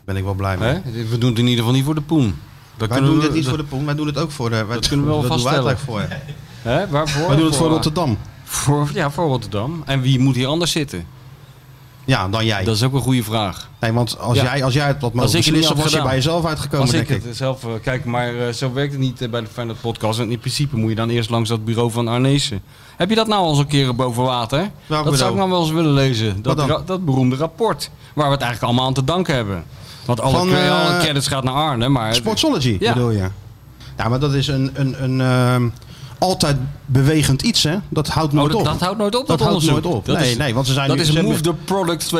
Ben ik wel blij mee. Hè? We doen het in ieder geval niet voor de poen. Dat Wij kunnen doen we- dit niet dat- voor de poen, wij doen het ook voor... eh, wij, Dat kunnen we wel dat doen wij het vaststellen. eigenlijk voor. Hè? Waarvoor? Wij doen het voor Rotterdam. Voor, ja, voor Rotterdam. En wie moet hier anders zitten? Ja, dan jij. Dat is ook een goede vraag. Nee, want als, Ja. jij, als jij het wat Als mogen ik het niet beslissen, had was je gedaan. bij jezelf uitgekomen, Als denk ik ik. het zelf eh, kijk, maar eh, zo werkt het niet eh, bij de Feyenoord podcast. Want in principe moet je dan eerst langs dat bureau van Arnezen. Heb je dat nou al eens een keer boven water? dat bureau? zou ik nou wel eens willen lezen. Dat, Wat dan? ra- dat beroemde rapport. Waar we het eigenlijk allemaal aan te danken hebben. Want alle, Van, cre- alle eh, credits gaat naar Arne. Maar Sportsology, Ja. bedoel je? Ja, maar dat is een, een, een ehm, altijd bewegend iets, hè? Dat houdt Oh, nooit dat, op. dat houdt nooit op. Dat, Dat houdt onderzoek. nooit op. Dat nee, is, nee, want ze zijn dat nu- is ze hebben- Move the Product 2.0.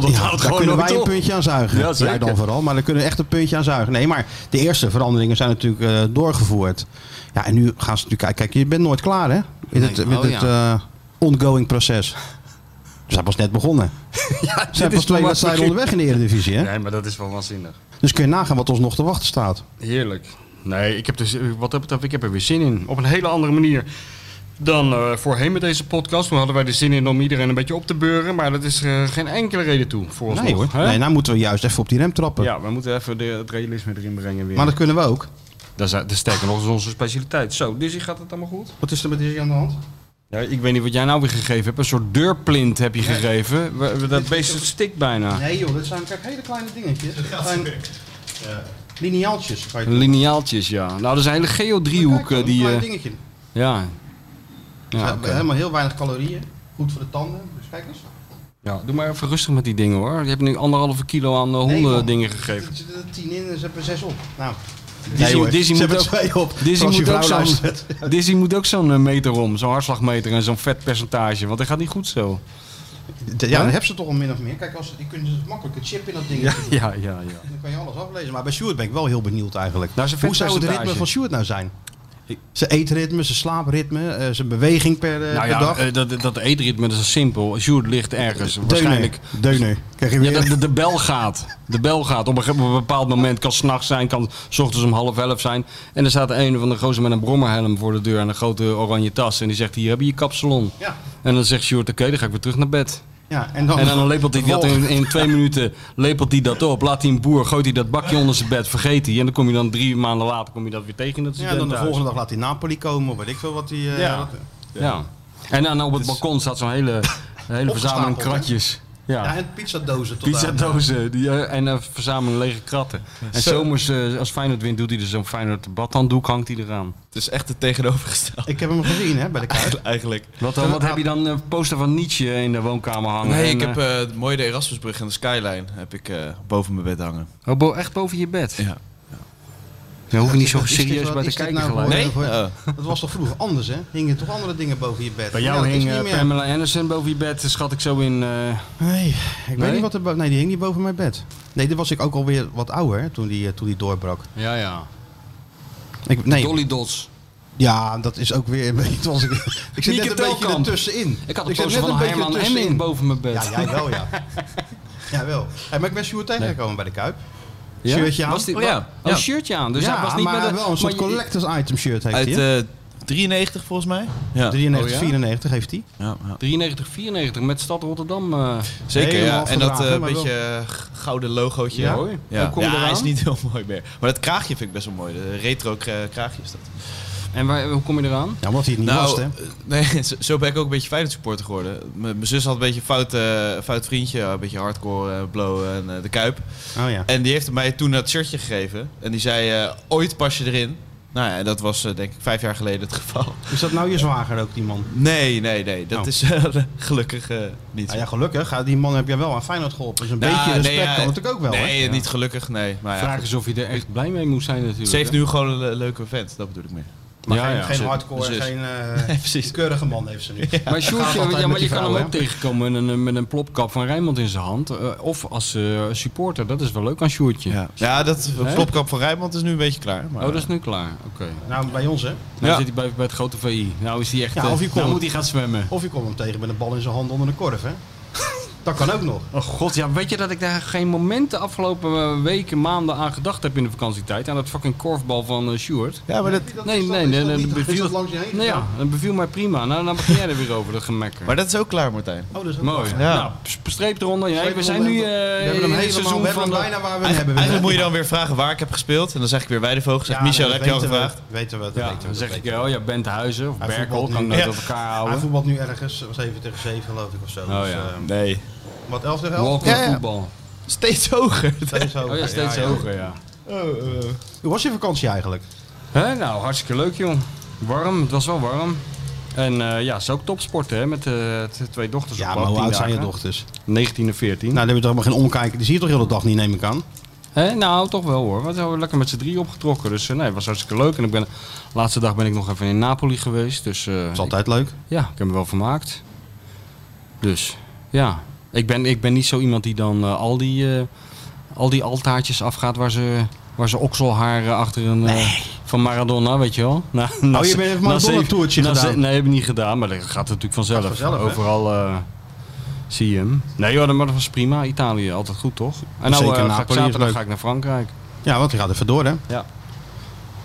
Dat Ja, houdt daar gewoon kunnen nooit wij een op. puntje aan zuigen. Ja, zeker. Jij dan vooral, maar daar kunnen we echt een puntje aan zuigen. Nee, maar de eerste veranderingen zijn natuurlijk eh, doorgevoerd. Ja, en nu gaan ze natuurlijk kijken. Kijk, je bent nooit klaar, hè? Met het, met Oh, het eh, ongoing proces. We zijn pas net begonnen. Ja, We zijn pas dit is twee nog maar wedstrijden het begin. onderweg in de Eredivisie, hè? Nee, maar dat is wel waanzinnig. Dus kun je nagaan wat ons nog te wachten staat. Heerlijk. Nee, ik heb, dus, wat dat betreft, ik heb er weer zin in. Op een hele andere manier dan eh, voorheen met deze podcast. Toen hadden wij er zin in om iedereen een beetje op te beuren. Maar dat is eh, geen enkele reden toe voor ons Nee nog, hoor. hè? Nee, nou moeten we juist even op die rem trappen. Ja, we moeten even de, het realisme erin brengen weer. Maar dat kunnen we ook. dat, is, dat is sterker nog, dat is onze specialiteit. Zo, Dizzy, gaat het allemaal goed? Wat is er met deze aan de hand? Ja, ik weet niet wat jij nou weer gegeven hebt. Een soort deurplint heb je gegeven. We- we- Dat beest stikt bijna. Nee joh, dat zijn kijk, hele kleine dingetjes. Dat zijn lineaaltjes. Kan je- Lineaaltjes, ja. Nou, dat is een hele geodriehoek Kijk, eh, die... Een klein eh, dingetje. ja. Ja, Ze hebben oké. Helemaal heel weinig calorieën. Goed voor de tanden. Dus kijk eens. Ja, doe maar even rustig met die dingen hoor. Je hebt nu anderhalve kilo aan eh, honden man. dingen gegeven. Er zitten er tien in en ze hebben er zes op. Nou, Dizzy, hoor. Dizzy Ze moet hebben ook- twee op. Dizzy Als je moet vrouw ook zo'n- luistert. Dizzy moet ook zo'n eh, meter om, zo'n hartslagmeter en zo'n vetpercentage, want dat gaat niet goed zo. d- ja, dan heb ze toch al min of meer. Kijk, als, die kunnen ze makkelijk een chip in dat ding. Ja, ja, ja. ja. Dan kan je alles aflezen. Maar bij Sjoerd ben ik wel heel benieuwd eigenlijk. Nou, zijn Hoe zou het vetpercentage. ritme van Sjoerd nou zijn? Zijn eetritme, zijn slaapritme, eh, zijn beweging per, eh, Nou per ja, dag. eh, dat, dat eetritme dat is simpel. Sjoerd ligt ergens, waarschijnlijk. Deuner. Deuner. Krijg je Ja, weer... dat de, de bel gaat. De bel gaat. Op een, ge- op een bepaald moment kan 's nachts zijn, kan 's ochtends om half elf zijn. En er staat een van de gozer met een brommerhelm voor de deur en een grote oranje tas. En die zegt, hier heb je je kapsalon. Ja. En dan zegt Sjoerd, oké, dan ga ik weer terug naar bed. ja, en dan, En dan lepelt hij dat in, in twee minuten lepelt hij dat op. Laat hij een boer, gooit hij dat bakje onder zijn bed, vergeet hij. En dan kom je dan drie maanden later kom je dat weer tegen in dat Ja, en dan de studentenhuis. volgende dag laat hij Napoli komen of weet ik veel wat hij... eh, Ja. dat- Ja. En dan op het balkon staat zo'n hele, hele verzameling hè? kratjes. Ja, en pizzadozen tot aan- Pizzadozen die, eh, en een verzameling lege kratten. En zomers, eh, als Feyenoord wint, doet hij er zo'n Feyenoord badhanddoek, hangt hij eraan. Het is echt het tegenovergestelde Ik heb hem gezien hè, bij de kaart. eigenlijk. Wat, dan, wat heb je dan, eh, poster van Nietzsche in de woonkamer hangen? Nee, En, ik heb eh, eh, het mooie de Erasmusbrug en de skyline heb ik eh, boven mijn bed hangen. oh, bo- echt boven je bed? Ja. Dan hoef je niet zo Is dit serieus wat- bij te is dit kijken nou gelijk. voor- Nee? voor- Oh. Dat was toch vroeger anders hè? Hingen toch andere dingen boven je bed? Bij Ja, jou dat is hing niet eh, meer. Pamela Anderson boven je bed, schat ik zo in. eh, Nee, ik Nee? weet niet wat er... bo- Nee, die hing niet boven mijn bed. Nee, daar was ik ook alweer wat ouder hè, toen die, eh, toen die doorbrak. ja, ja. Ik, nee, Dolly Dots. Ja, dat is ook weer een beetje. het was- ik zit Mieke net een beetje Telkamp. ertussenin. Ik had een Ik zit poster net van een beetje Herman ertussenin. Hemming boven mijn bed. Ja, jij wel, ja. Jawel. Hey, maar ik ben Sjoerd tegengekomen bij de Kuip. Ja? Shirtje aan. Was die, Oh, ja. Oh, Ja. shirtje aan. Dus ja, hij was niet maar met wel een soort maar je- collectors item shirt heeft Uit hij. hè? eh 93 volgens mij. Ja, 93, Oh, ja? 94 heeft hij. ja, ja. 93, 94 met Stad Rotterdam. eh zeker. Helemaal Ja. En dat verdragen, eh, maar wel- beetje eh, g- gouden logootje. Ja. Ja, Mooi. Hoe ja. kom je Ja, hij eraan? is niet heel mooi meer. Maar dat kraagje vind ik best wel mooi. De retro kra- kraagje is dat. En waar, hoe kom je eraan? Ja, omdat hij het niet was, hè. eh, nee, zo- zo ben ik ook een beetje Feyenoord supporter geworden. M- Mijn zus had een beetje een fout, eh, fout vriendje, een beetje hardcore, eh, blowen en eh, de kuip. Oh ja. En die heeft mij toen dat shirtje gegeven. En die zei, eh, ooit pas je erin. Nou ja, en dat was eh, denk ik vijf jaar geleden het geval. Is dat nou je zwager ook, die man? Nee, nee, nee. Dat Oh. is eh, gelukkig eh, niet. Nou Ja, ja, gelukkig. Ja, Die man heb jij wel aan Feyenoord geholpen. Dus een Nou, beetje respect nee, ja, kan natuurlijk ook wel, hè. Nee, niet gelukkig, nee. Maar ja, Vraag is of je er echt blij mee moet zijn natuurlijk. ze heeft hè? nu gewoon een le- leuke vent, dat bedoel ik meer. Maar Ja, geen, ja. geen hardcore, Precies. geen eh, keurige man heeft ze nu. Maar Sjoerd, Gaat ja, altijd ja, met maar die je kan hem vrouwen, ook tegenkomen met een, met een plopkap van Rijnmond in zijn hand. eh, of als eh, supporter, dat is wel leuk aan Sjoerdje. Ja, ja dat Hè? flopkap van Rijmond is nu een beetje klaar. Maar, Oh, dat is nu klaar. Oké. Nou, bij ons, hè. Nou Ja. zit hij bij, bij het grote VI. Nou is hij echt... Ja, eh, of je nou komt. moet hij gaan zwemmen. Of je komt hem tegen met een bal in zijn hand onder een korf, hè? Dat kan ook nog. Oh god, ja, weet je dat ik daar geen moment de afgelopen eh, weken, maanden aan gedacht heb in de vakantietijd? Aan dat fucking korfbal van eh, Sjoerd. Ja, maar dat, Nee, nee, nee. nee, dat beviel beviel, langs je heen. nou ja, dat beviel mij prima. Nou, dan begin jij er weer over, dat gemekker. maar dat is ook klaar, Martijn. Oh, dat is ook Mooi. wel. Ja. Nou, s- streep eronder. Ja, Streep we zijn nu eronder. we eh hebben hem in het helemaal, seizoen we hebben van hem de- bijna waar we hem hebben. Eigenlijk, eigenlijk moet je dan weer vragen waar ik heb gespeeld. En dan zeg ik weer Weidevogel. Zeg, Ja, Michel, nee, heb je al weten we, gevraagd? Weten we, dat Ja, weten we. dan zeg dat ik, weten oh ja, Benthuizen of Hij Berkel, voetbalt kan ik nu. nooit Ja. op elkaar we. Hij houden. voetbalt nu ergens eh, 7 tegen 7, geloof ik, of zo. Oh, Dus, ja. eh, Nee. wat, 11 tegen 11? Walker Ja, ja. voetbal. Steeds hoger. Steeds hoger. Oh ja, steeds Ja, ja. hoger, ja. Hoe was je vakantie eigenlijk? Hè, nou, hartstikke leuk, joh. Warm, het was wel warm. En eh, ja, ze ook topsporten, hè, met eh, t- twee dochters op pad, 10 dagen. dochters? Nou, 19 en 14. dan heb je toch helemaal geen omkijken. Die zie je toch heel de dag niet, neem ik aan. Hè, nou, toch wel hoor. We zijn lekker met z'n drie opgetrokken. Dus eh, nee, het was hartstikke leuk. En ik ben, laatste dag ben ik nog even in Napoli geweest. Dus eh, Dat is altijd leuk. Ja, ik heb me wel vermaakt. Dus ja, ik ben, ik ben niet zo iemand die dan eh, al, die, eh, al die altaartjes afgaat waar ze, waar ze okselharen achter een. eh, van Maradona, weet je wel. Na, na Oh, je ze- bent even na Maradona zeven- toertje na gedaan. ze- nee, heb ik niet gedaan, maar dat gaat natuurlijk vanzelf. Gaat vanzelf, hè? Overal eh, zie je hem. Nee joh, maar dat was prima. Italië, altijd goed toch? En nou, Zeker, eh, ga ik Napoli is zaterdag leuk. ga ik naar Frankrijk. Ja, want die gaat even door, hè? Ja. Ja, ik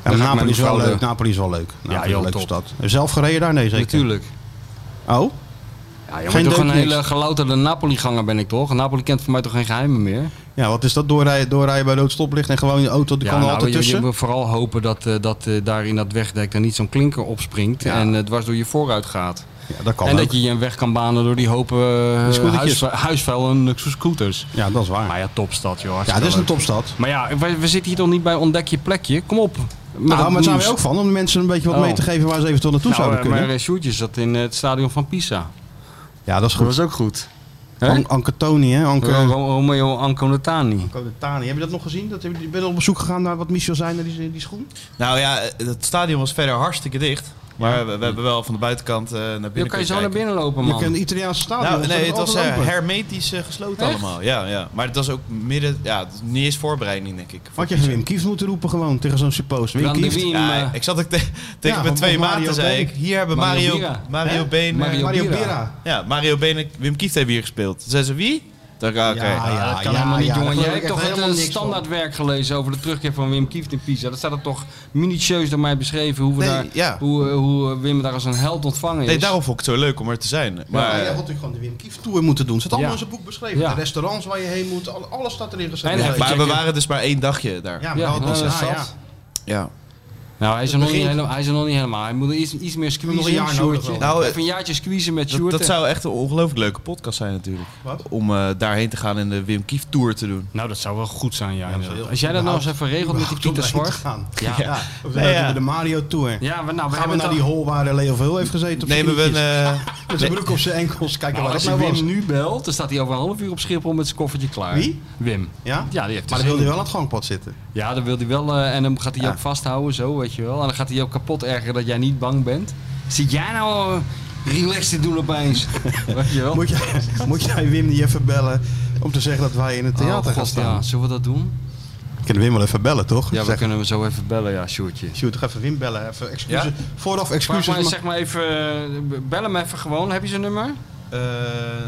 maar met Napoli is wel mevrouw leuk. de- Napoli is wel leuk. Napoli is joh, een leuke top. stad. Zelf gereden daar? Nee, zeker. Natuurlijk. Oh? Ja, je Geen bent toch een deuk, niks. hele gelouterde Napoli-ganger ben ik toch? Napoli kent voor mij toch geen geheimen meer? Ja, wat is dat? Doorrijden, doorrijden bij rood stoplicht en gewoon je auto, die kan er nou, altijd je- tussen. Je moet vooral hopen dat, eh, dat eh, daar in dat wegdek er niet zo'n klinker opspringt Ja. en het dwars door je vooruit gaat. Ja, dat kan en ook. dat je je een weg kan banen door die hopen eh scootertjes. huisvu- huisvuil en eh, scooters. Ja, dat is waar. Maar ja, topstad joh. ja, hartstikke dit is een leuk. topstad. Maar ja, we, we zitten hier toch niet bij ontdek je plekje? Kom op. Nou, maar daar zijn we nieuws. ook van, om de mensen een beetje wat Oh. mee te geven waar ze eventueel naartoe Nou, zouden eh, kunnen. Maar eh, Sjoerdje zat in eh, het stadion van Pisa. ja, dat is Dat goed. was ook goed. Hè? An Anke Tony, hè? Anke Ro- Ro- Romeo Anconatani. Anke de Tani. Heb je dat nog gezien? Dat, heb je, ben je op bezoek gegaan naar wat Michel zei, naar die, die schoen? Nou ja, het stadion was verder hartstikke dicht. Maar we, we hebben wel van de buitenkant eh, naar Dan binnen kan je zo kunnen naar kijken. binnen lopen, Je Oh, man. kunt Italiaanse stadion. Nou, dat nee, is het was eh, altijd open. hermetisch eh, gesloten Echt? allemaal. Ja, ja. Maar het was ook midden... Ja, het is niet eens voorbereiding, denk ik. Had je geen Wim Kieft moeten roepen gewoon tegen zo'n suppost? Wim Dan de Kieft? Wien, Ja, eh, ik zat ook te- Ja, tegen mijn of- twee of Mario maten, zei Been. ik. Hier hebben Mario Mario, Bira. Mario Been... eh, Mario Mario Bera. Bera. Ja, Mario Been en Wim Kieft hebben hier gespeeld. Toen zei ze, wie? Toen dacht ik, ah, oké. Ja, nou, dat kan helemaal niet, Ah, ja, daar jongen. Jij geloof hebt ik toch echt het eh, helemaal niks van. standaardwerk gelezen over de terugkeer van Wim Kieft in Pisa. Dat staat er toch minutieus door mij beschreven hoe, we Nee, daar, ja. hoe, eh, hoe eh, Wim daar als een held ontvangen is. Nee, daarom vond ik het zo leuk om er te zijn. Maar, eh, Maar jij had natuurlijk gewoon de Wim Kieft tour moeten doen. Het staat allemaal Ja. in zijn boek beschreven. Ja. De restaurants waar je heen moet, al- alles staat erin En geschreven. even maar we checken. waren dus maar één dagje daar. Ja, Ja. maar Ja, dat had nou, iets- dat ah, zat. ja. Nou, hij is, er nog niet begint- helemaal, hij is er nog niet helemaal. Hij moet er iets, iets meer squeezen. Nog een jaar nodig Sjoerdje. wel. Nou, eh, Even een jaartje squeezen met Dat, Sjoerd. dat zou echt een ongelooflijk leuke podcast zijn natuurlijk. Wat? Om eh, daarheen te gaan en de Wim Kieft Tour te doen. Nou, dat zou wel goed zijn, ja. inderdaad. heel- Als jij dat nou eens even regelt met die Überhaupt om Pieter daarheen te Zwart. gaan. Ja. Ja. Of dan Nee, ja. hebben we de Mario Tour. Ja, maar nou, we Gaan we hebben naar het die al- hol waar Leo Veel heeft gezeten? Op Nemen we een... zijn eh, knietjes? Met zijn broek op zijn enkels. Kijken waar Nou, dat als je nou was. Wim nu belt, dan staat hij over een half uur op Schiphol met zijn koffertje klaar. Wie? Wim. Ja? Ja, die Maar heeft dus er dan zin wilde in. hij wel aan het gangpad zitten. Ja, dan wil hij wel. eh, en dan gaat hij Ah. je ook vasthouden, zo, weet je wel. En dan gaat hij je ook kapot ergeren dat jij niet bang bent. Zit jij nou eh, relaxed te doen opeens? weet je wel? Moet jij, moet jij Wim niet even bellen om te zeggen dat wij in het Oh, theater gaan God, staan? ja. Zullen we dat doen? Ik kan Wim wel even bellen, toch? Ja, we Zeg, kunnen hem zo even bellen, ja, Sjoerdje. Sjoerd, toch even Wim bellen. Even excuses. Ja? Vooraf Vraag excuses. maar, ma- zeg maar even, eh, bel hem even gewoon. Heb je zijn nummer? eh,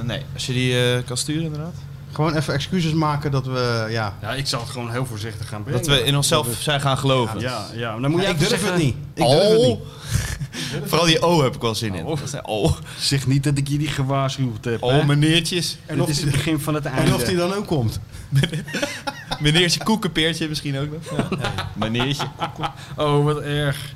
nee, als je die eh, kan sturen inderdaad. Gewoon even excuses maken dat we... Ja, Ja, ik zal het gewoon heel voorzichtig gaan brengen. Dat we in onszelf zijn gaan geloven. Ja, ja. Dan moet jij ik durf even zeggen- het niet. Ik durf het niet. Oh. Vooral die O heb ik wel zin in. Dat zijn Oh, Zeg niet dat ik jullie gewaarschuwd heb. oh meneertjes. en Dit is het begin van het einde. En of die dan ook komt. Meneertje koekenpeertje misschien ook nog. Ja. Meneertje. Oh, wat erg.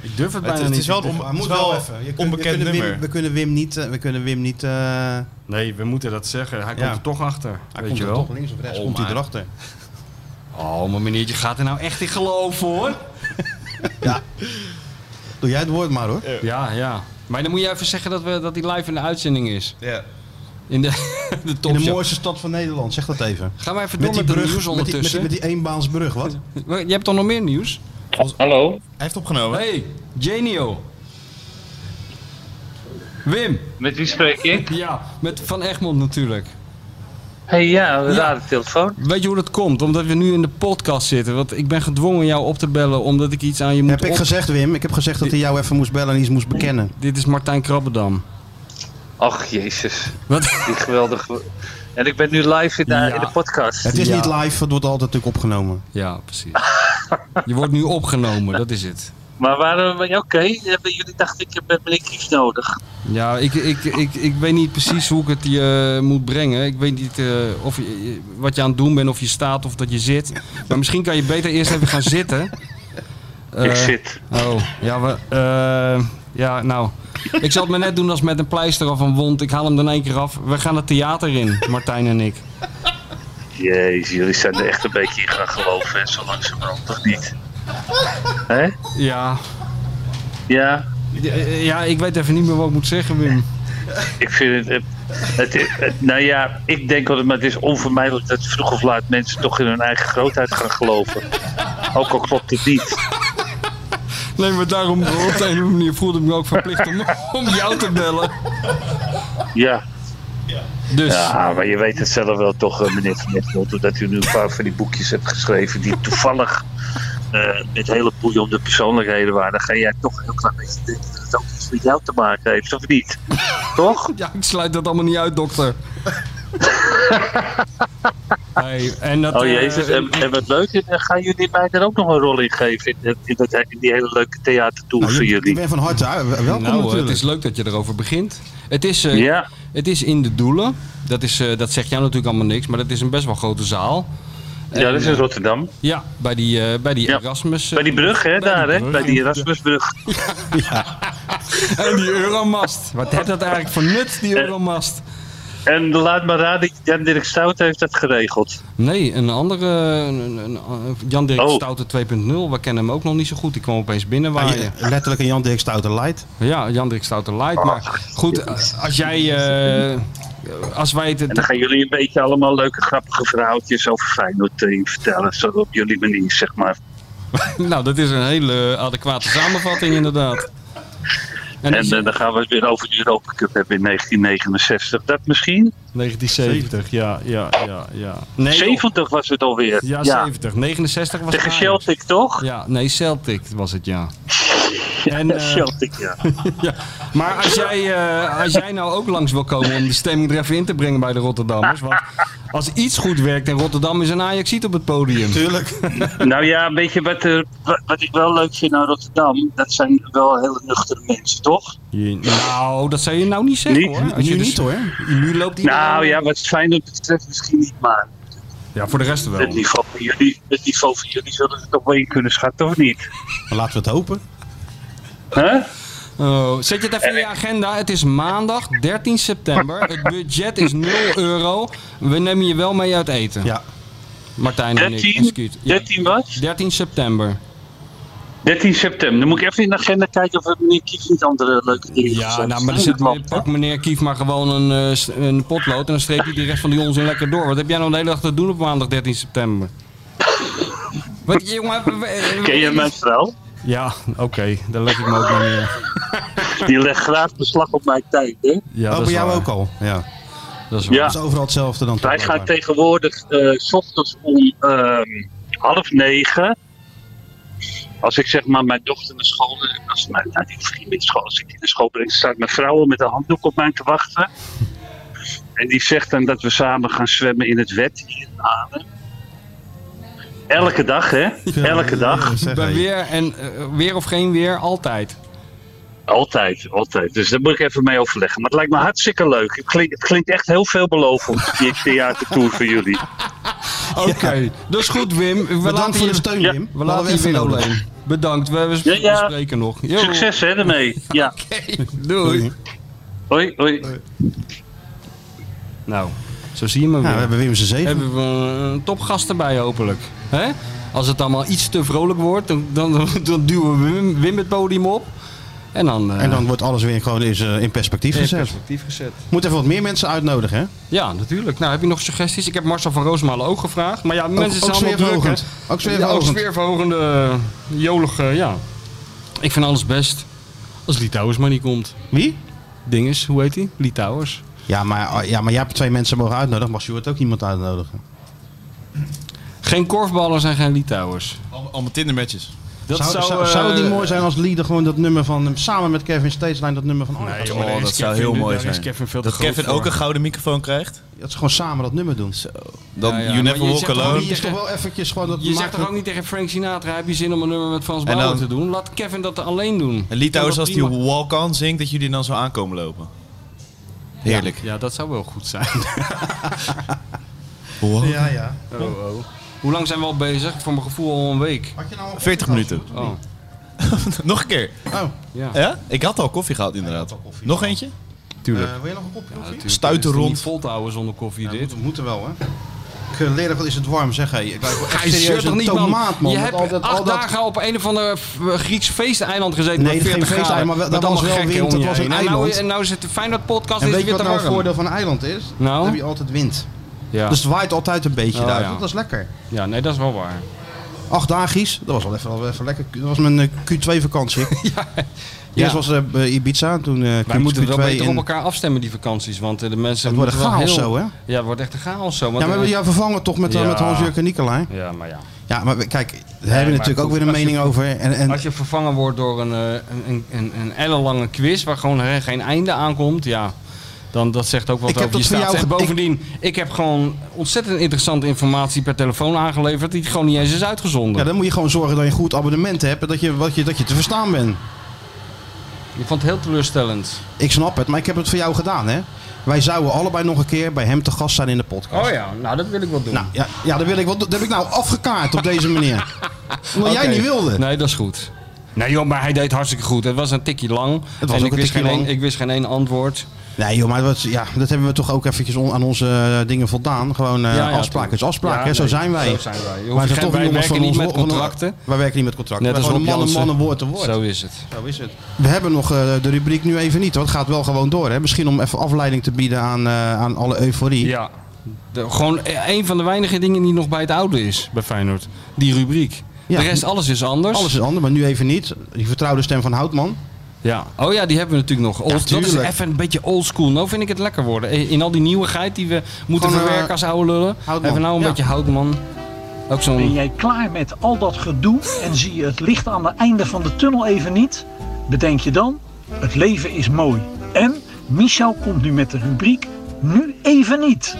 Ik durf het Het, bijna het niet. is wel een on- Maar het is wel een we onbekend kunnen nummer. Wim, we kunnen Wim niet... eh, We kunnen Wim niet eh, Nee, we moeten dat zeggen. Hij Ja. komt er toch achter. hij weet komt je er wel. toch links of rechts. Oh, komt hij maar. erachter. Oh, maar meneertje gaat er nou echt in geloven hoor. Doe jij het woord maar hoor. Ja, ja. Maar dan moet je even zeggen dat, we, dat die live in de uitzending is. Ja. In de, de In de topshow. mooiste stad van Nederland. Zeg dat even. Ga maar even Met door die met, de nieuws brug. Met die, met, die, ondertussen. met die eenbaansbrug. Wat? Je hebt toch nog meer nieuws? Hallo? Hij heeft opgenomen. Hey, Genio. Wim. Met wie spreek ik? Ja, met Van Egmond natuurlijk. Hey, ja, we raden de telefoon. Weet je hoe dat komt? Omdat we nu in de podcast zitten. Want ik ben gedwongen jou op te bellen omdat ik iets aan je moet Heb ik op- gezegd Wim. Ik heb gezegd dat hij jou even moest bellen en iets moest bekennen. Dit is Martijn Krabbedam. Ach, jezus. Wat? Die geweldige... En ik ben nu live in de, Ja. in de podcast. Het is Ja. niet live. Het wordt altijd natuurlijk opgenomen. Ja, precies. Je wordt nu opgenomen, dat is het. Maar waarom... Oké, hebben jullie dacht ik heb eh, meneer Kies nodig. Ja, ik, ik, ik, ik weet niet precies hoe ik het je moet brengen. Ik weet niet eh, of je, wat je aan het doen bent, of je staat of dat je zit. Maar misschien kan je beter eerst even gaan zitten. ik Eh, zit. Oh, ja, we, eh, ja, nou. Ik zal het maar net doen als met een pleister of een wond. Ik haal hem dan één keer af. We gaan het theater in, Martijn en ik. Jezus, jullie zijn er echt een beetje in gaan geloven, hè, zo langzamerhand. Toch niet? Hé? Ja, Ja, eh, ja, ik weet even niet meer wat ik moet zeggen, Wim. ik vind het... eh, Het, het- nou ja, ik denk altijd, maar het is onvermijdelijk dat vroeg of laat mensen toch in hun eigen grootheid gaan geloven. Ook al klopt het niet. Nee, maar daarom op de een of andere manier voelde ik me ook verplicht om, om jou te bellen. Ja, Dus, Ja, maar je weet het zelf wel toch, eh, meneer Van Egmond, doordat u nu een paar van die boekjes hebt geschreven die toevallig eh, met hele om de persoonlijkheden waren. Dan ga jij toch een heel klein beetje denken dat het ook iets met jou te maken heeft, of niet? toch? ja, ik sluit dat allemaal niet uit, dokter. Hey, en dat, Oh eh, jezus, en, en wat leuk, en, eh, gaan jullie mij daar ook nog een rol in geven in, dat- in, dat, in die hele leuke theatertour Nou, van je- Ik jullie? ben van harte uit- welkom nou, eh, natuurlijk. het is leuk dat je erover begint. Het is, eh, Ja, het is in de Doelen. Dat, is, eh, dat zegt jou natuurlijk allemaal niks, maar dat is een best wel grote zaal. ja, dat is in Rotterdam. Ja, bij die, eh, bij die Ja. Erasmus. eh, Bij die brug, hè, die daar, hè? brug. Bij die Erasmusbrug. eh, Eh, En die Euromast. Wat heeft dat eigenlijk voor nut, die Euromast? En laat maar raden, Jan Dirk Stout heeft dat geregeld. Nee, een andere. een- een- een- Jan Dirk Oh. Stoute 2.0. We kennen hem ook nog niet zo goed. Die kwam opeens binnenwaaien. Ah, Ah, Ja, letterlijk een Jan Dirk Stouter light. Ja, Jan Dirk Stoute Light. Ah, Maar goed, eh, als jij. eh, als wij het. En dan gaan jullie een beetje allemaal leuke, grappige verhaaltjes over Feyenoord eh, vertellen. Zo op jullie manier, zeg maar. Nou, dat is een hele adequate samenvatting, inderdaad. En, En eh, dan gaan we het weer over de Europa Cup hebben in 1969. Dat misschien? 1970, ja, ja, ja, ja. Nee, 70 was het alweer. Ja, 70. 69 was Tegen het Ajax. Celtic, toch? Ja, nee, Celtic was het, ja. En, Ja, eh, Celtic, ja. ja. Maar als jij, eh, als jij nou ook langs wil komen om de stemming er even in te brengen bij de Rotterdammers. Want als iets goed werkt in Rotterdam is een Ajax ziet op het podium. Tuurlijk. Nou ja, weet je wat, er, wa- wat ik wel leuk vind aan Rotterdam? Dat zijn wel hele nuchtere mensen, toch? Je- Nou, dat zou je nou niet zeggen Niet- hoor. Als je Nu dus- niet hoor. Nu loopt die Nou ja, wat Feyenoord betreft misschien niet, maar ja, voor de rest wel. het niveau van jullie, het niveau van jullie zullen ze toch wel in kunnen schatten, of niet? Maar laten we het hopen. Huh? Oh, zet je het even in je agenda. Het is maandag 13 september. Het budget is 0 euro. We nemen je wel mee uit eten. Ja. Martijn en ik. en 13? Scoot. Ja, 13 wat? 13 september. 13 september. Dan moet ik even in de agenda kijken of er meneer Kief niet andere leuke dingen gezet Ja, heeft. nou, maar dan Nee, zit, dat klopt, pak meneer Kief maar gewoon een, eh, s- een potlood en dan streep hij de rest van die onzin lekker door. Wat heb jij nou de hele dag te doen op maandag 13 september? Wat, jongen, we- we- hè? Ken je mijn vrouw? Ja, oké, daar leg ik me ook niet meer. Die legt graag beslag op mijn tijd, hè? Ja, Oh, dat bij is jou waar. ook al. Ja. Dat is waar. Ja. Dat is overal hetzelfde dan. toch Wij gaan blijkbaar. tegenwoordig eh, s ochtends om ehm, half negen. Als ik zeg maar mijn dochter naar school, als mijn, nou, die vriend naar school, als ik die naar school breng, staat mijn vrouw al met een handdoek op mij te wachten. En die zegt dan dat we samen gaan zwemmen in het wet hier in Arnhem. Elke dag, hè? Elke dag. Zeg, Bij hey. weer en eh, weer of geen weer, altijd. Altijd, altijd. Dus daar moet ik even mee overleggen. Maar het lijkt me hartstikke leuk. Het klinkt, het klinkt echt heel veelbelovend, die theatertour voor jullie. Oké, dus goed Wim. We Bedankt laten voor de je, steun, Ja. Wim. we laten je even weer nodig. alleen. Bedankt, we, we Ja, ja. spreken nog. Yo. Succes, hè, daarmee. Ja. Oké, doei. Hoi, hoi. Nou, zo zie je me weer. Ja, we hebben Wim zijn zeven. hebben we een topgast erbij hopelijk. Hè? Als het allemaal iets te vrolijk wordt, dan, dan, dan duwen we Wim, Wim het podium op. En dan... eh, En dan wordt alles weer gewoon eens, eh, in perspectief in gezet. perspectief gezet. Moet even wat meer mensen uitnodigen, hè? Ja, natuurlijk. Nou, heb je nog suggesties? Ik heb Marcel van Roosmalen ook gevraagd. Maar ja, mensen zijn ook allemaal druk, hè? sfeerverhogend. Ook Ja, ook sfeerverhogend. sfeerverhogende, eh, jolige, ja. Ik vind alles best. Als Litouwers maar niet komt. Wie? Dinges, hoe heet hij? Litouwers. Ja maar, oh, ja, maar jij hebt twee mensen mogen uitnodigen. Mag Sjoerd ook niemand uitnodigen? Geen korfballers en geen Litouwers. Allemaal allemaal Tinder-matches. Dat zou, zou, eh, zou het niet mooi zijn als Lieder gewoon dat nummer van... Samen met Kevin Steedslijn dat nummer van... Oh, Nee, dat, joh, daar Oh, is dat zou Kevin- heel mooi daar is zijn. Kevin veel te Dat groot Kevin voor. ook een gouden microfoon krijgt. dat ze gewoon samen dat nummer doen. Dan Ja, ja, maar You eh, je Never Walk zegt toch Alone. niet- Die is toch wel eventjes gewoon... Dat Je maakt zegt toch ook niet tegen Frank Sinatra, heb je zin om een nummer met Frans En Bauer te dan- doen? Laat Kevin dat alleen doen. En Litouwers, als die Prima. Walk On zingt, dat jullie dan zo aankomen lopen. Heerlijk. Ja, dat zou wel goed zijn. Ja, ja. Hoe lang zijn we al bezig? Voor mijn gevoel al een week. Had je nou al 40 minuten. Oh, Nog een keer. Oh, ja. Ja? Ik had al koffie gehad, inderdaad. Nog eentje? Tuurlijk. eh, wil je nog een kopje koffie? Natuurlijk, stuiten het is toch rond. Niet vol te houden zonder koffie Ja, dit. moet, moeten wel, hè? Leren, wat is het warm, zeg hé. Ik lijk wel echt Hij serieus zeurt toch een niet, tomaat, man. Je met hebt al dat- acht al dat- dagen op een of ander f- eh, Grieks feesteiland gezeten. Nee, met geen 40 feesteiland, graden, maar wel- met dat was allemaal wel gekken wind, om dat je was een heen. en nou, eiland. en nou zit de Feyenoord podcast En is weet je weer wat te nou het warm. voordeel van een eiland is? Nou? Dan heb je altijd wind. ja. Dus het waait altijd een beetje Oh, daar. ja. Dat is lekker. ja, nee, dat is wel waar. Acht dagies, dat was wel even, wel even lekker. Dat was mijn eh, Q2 vakantie. Eerst was eh, eh, Ibiza, toen eh, Q- Wij moeten wel Q2 beter op in... elkaar afstemmen, die vakanties. Want eh, de mensen Het wordt een moeten wel chaos heel- zo, hè? Ja, het wordt echt een chaos zo. want Ja, maar we hebben er- jou vervangen toch met, eh, Ja. met Hans-Jurk en Nicolai? Ja, maar ja. Ja, maar we- kijk, daar hebben we natuurlijk goed, ook weer een als je- mening over. En, en, Als je vervangen wordt door een, eh, een, een, een, een ellenlange quiz waar gewoon he- geen einde aankomt, ja. Dan dat zegt ook wat Ik heb over je dat voor staat. jou en ge- bovendien, ik... heb gewoon ontzettend interessante informatie per telefoon aangeleverd die gewoon niet eens is uitgezonden. ja, dan moet je gewoon zorgen dat je een goed abonnement hebt en dat je, wat je, dat je te verstaan bent. Ik vond het heel teleurstellend. Ik snap het, maar ik heb het voor jou gedaan, hè? Wij zouden allebei nog een keer bij hem te gast zijn in de podcast. Oh ja, nou dat wil ik wel doen. Nou, ja, ja dat, wil ik, wel- dat heb ik nou afgekaart op deze manier. Omdat Oké. jij niet wilde. Nee, dat is goed. Nee joh, maar hij deed hartstikke goed. Het was een tikje lang. was en ook ik, een wist tikje geen lang. Een, ik wist geen één antwoord. Nee joh, maar dat, ja, dat hebben we toch ook eventjes on- aan onze eh, dingen voldaan. Gewoon eh Ja, ja, afspraak is afspraak, Ja, hè, zo nee, zijn wij. zo zijn wij. Je hoeft Wij zijn geen- toch wij jongens werken van niet ons met wo- van- contracten. Wij werken niet met contracten. Net Wij als Rob gewoon mannen, Jansen. mannen, woord te woord. Zo is het. Zo is het. We hebben nog eh, de rubriek nu even niet, want het gaat wel gewoon door. Hè? Misschien om even afleiding te bieden aan, eh, aan alle euforie. Ja. De- gewoon e- een van de weinige dingen die nog bij het oude is bij Feyenoord. Die rubriek. Ja. De rest, alles is anders. Alles is anders, maar nu even niet. Die vertrouwde stem van Houtman. Ja. Oh ja, die hebben we natuurlijk nog. Old- dat is tuurlijk. even een beetje oldschool. Nou vind ik het lekker worden. In in al die nieuwigheid die we moeten Gewoon, eh, verwerken als oude lullen. Houtman. Even nou een Ja. beetje houtman. Ook Ben zo'n... jij klaar met al dat gedoe en zie je het licht aan het einde van de tunnel even niet? Bedenk je dan, het leven is mooi. En Michel komt nu met de rubriek Nu even niet.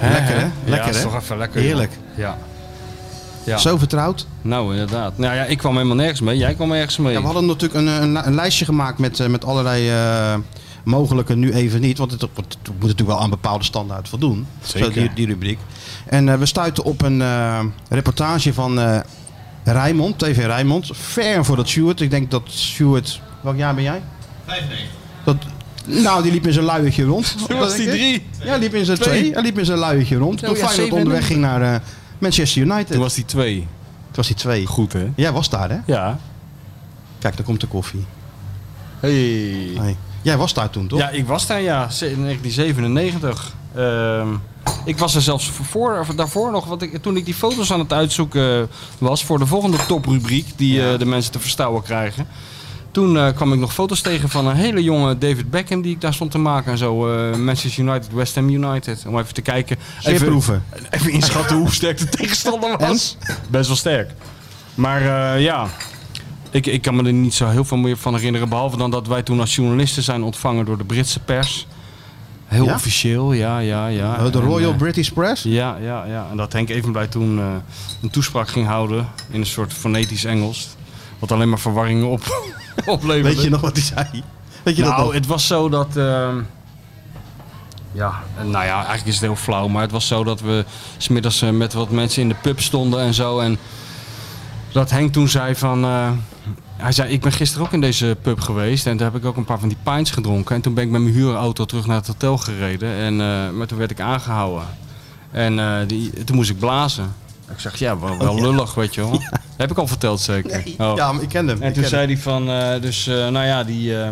Lekker, hè? Lekker, ja, is hè? toch even lekker. Heerlijk. joh. Ja. Ja. Zo vertrouwd. Nou, inderdaad. Nou ja, ik kwam helemaal nergens mee. Jij kwam ergens mee. Ja, we hadden natuurlijk een, een, een lijstje gemaakt met, eh, met allerlei eh, mogelijke, nu even niet. Want het, het moet natuurlijk wel aan bepaalde standaard voldoen. Zo, die, die rubriek. En eh, we stuiten op een eh, reportage van eh Rijnmond, TV Rijnmond. Ver voor dat Stuart. Ik denk dat Stuart... Welk jaar ben jij? 95. Dat, nou, die liep in zijn luiertje rond. Toen was die drie. Ja, liep in zijn twee. Hij liep in zijn luiertje rond. Toen ja, Feyenoord zeven. onderweg ging naar eh, Manchester United. Toen was die twee. Toen was hij twee. Goed, hè? Jij was daar, hè? Ja. Kijk, daar komt de koffie. Hey. Nee. Jij was daar toen, toch? Ja, ik was daar, ja. ze- In 1997. Ehm, ik was er zelfs voor, of daarvoor nog, want ik, toen ik die foto's aan het uitzoeken was voor de volgende toprubriek die eh, de mensen te verstouwen krijgen. Toen eh, kwam ik nog foto's tegen van een hele jonge David Beckham die ik daar stond te maken en zo. eh, Manchester United, West Ham United. Om even te kijken. Zeer Even, proeven. even inschatten hoe sterk de tegenstander was. Best wel sterk. Maar eh, ja, ik, ik kan me er niet zo heel veel meer van herinneren. Behalve dan dat wij toen als journalisten zijn ontvangen door de Britse pers. Heel Ja? officieel, ja, ja, ja. Oh, de En, Royal eh, British Press? ja, ja, ja. En dat Henk Evenblij toen eh, een toespraak ging houden in een soort fonetisch Engels. Wat alleen maar verwarring op, opleverde. Weet je nog wat hij zei? Weet je dat Nou, nog? het was zo dat. ehm, ja, eh, nou ja, eigenlijk is het heel flauw. Maar het was zo dat we smiddags eh, met wat mensen in de pub stonden en zo. En dat Henk toen zei van. eh, hij zei, ik ben gisteren ook in deze pub geweest en daar heb ik ook een paar van die pints gedronken. En toen ben ik met mijn huurauto terug naar het hotel gereden. En, eh, maar toen werd ik aangehouden. En eh, die, toen moest ik blazen. Ik zeg, ja, wel, Oh, wel lullig, weet je wel. Heb ik al verteld zeker? Oh. Ja, maar ik ken hem. En ik ken toen hem. zei hij van, eh, dus eh, nou ja, die, eh,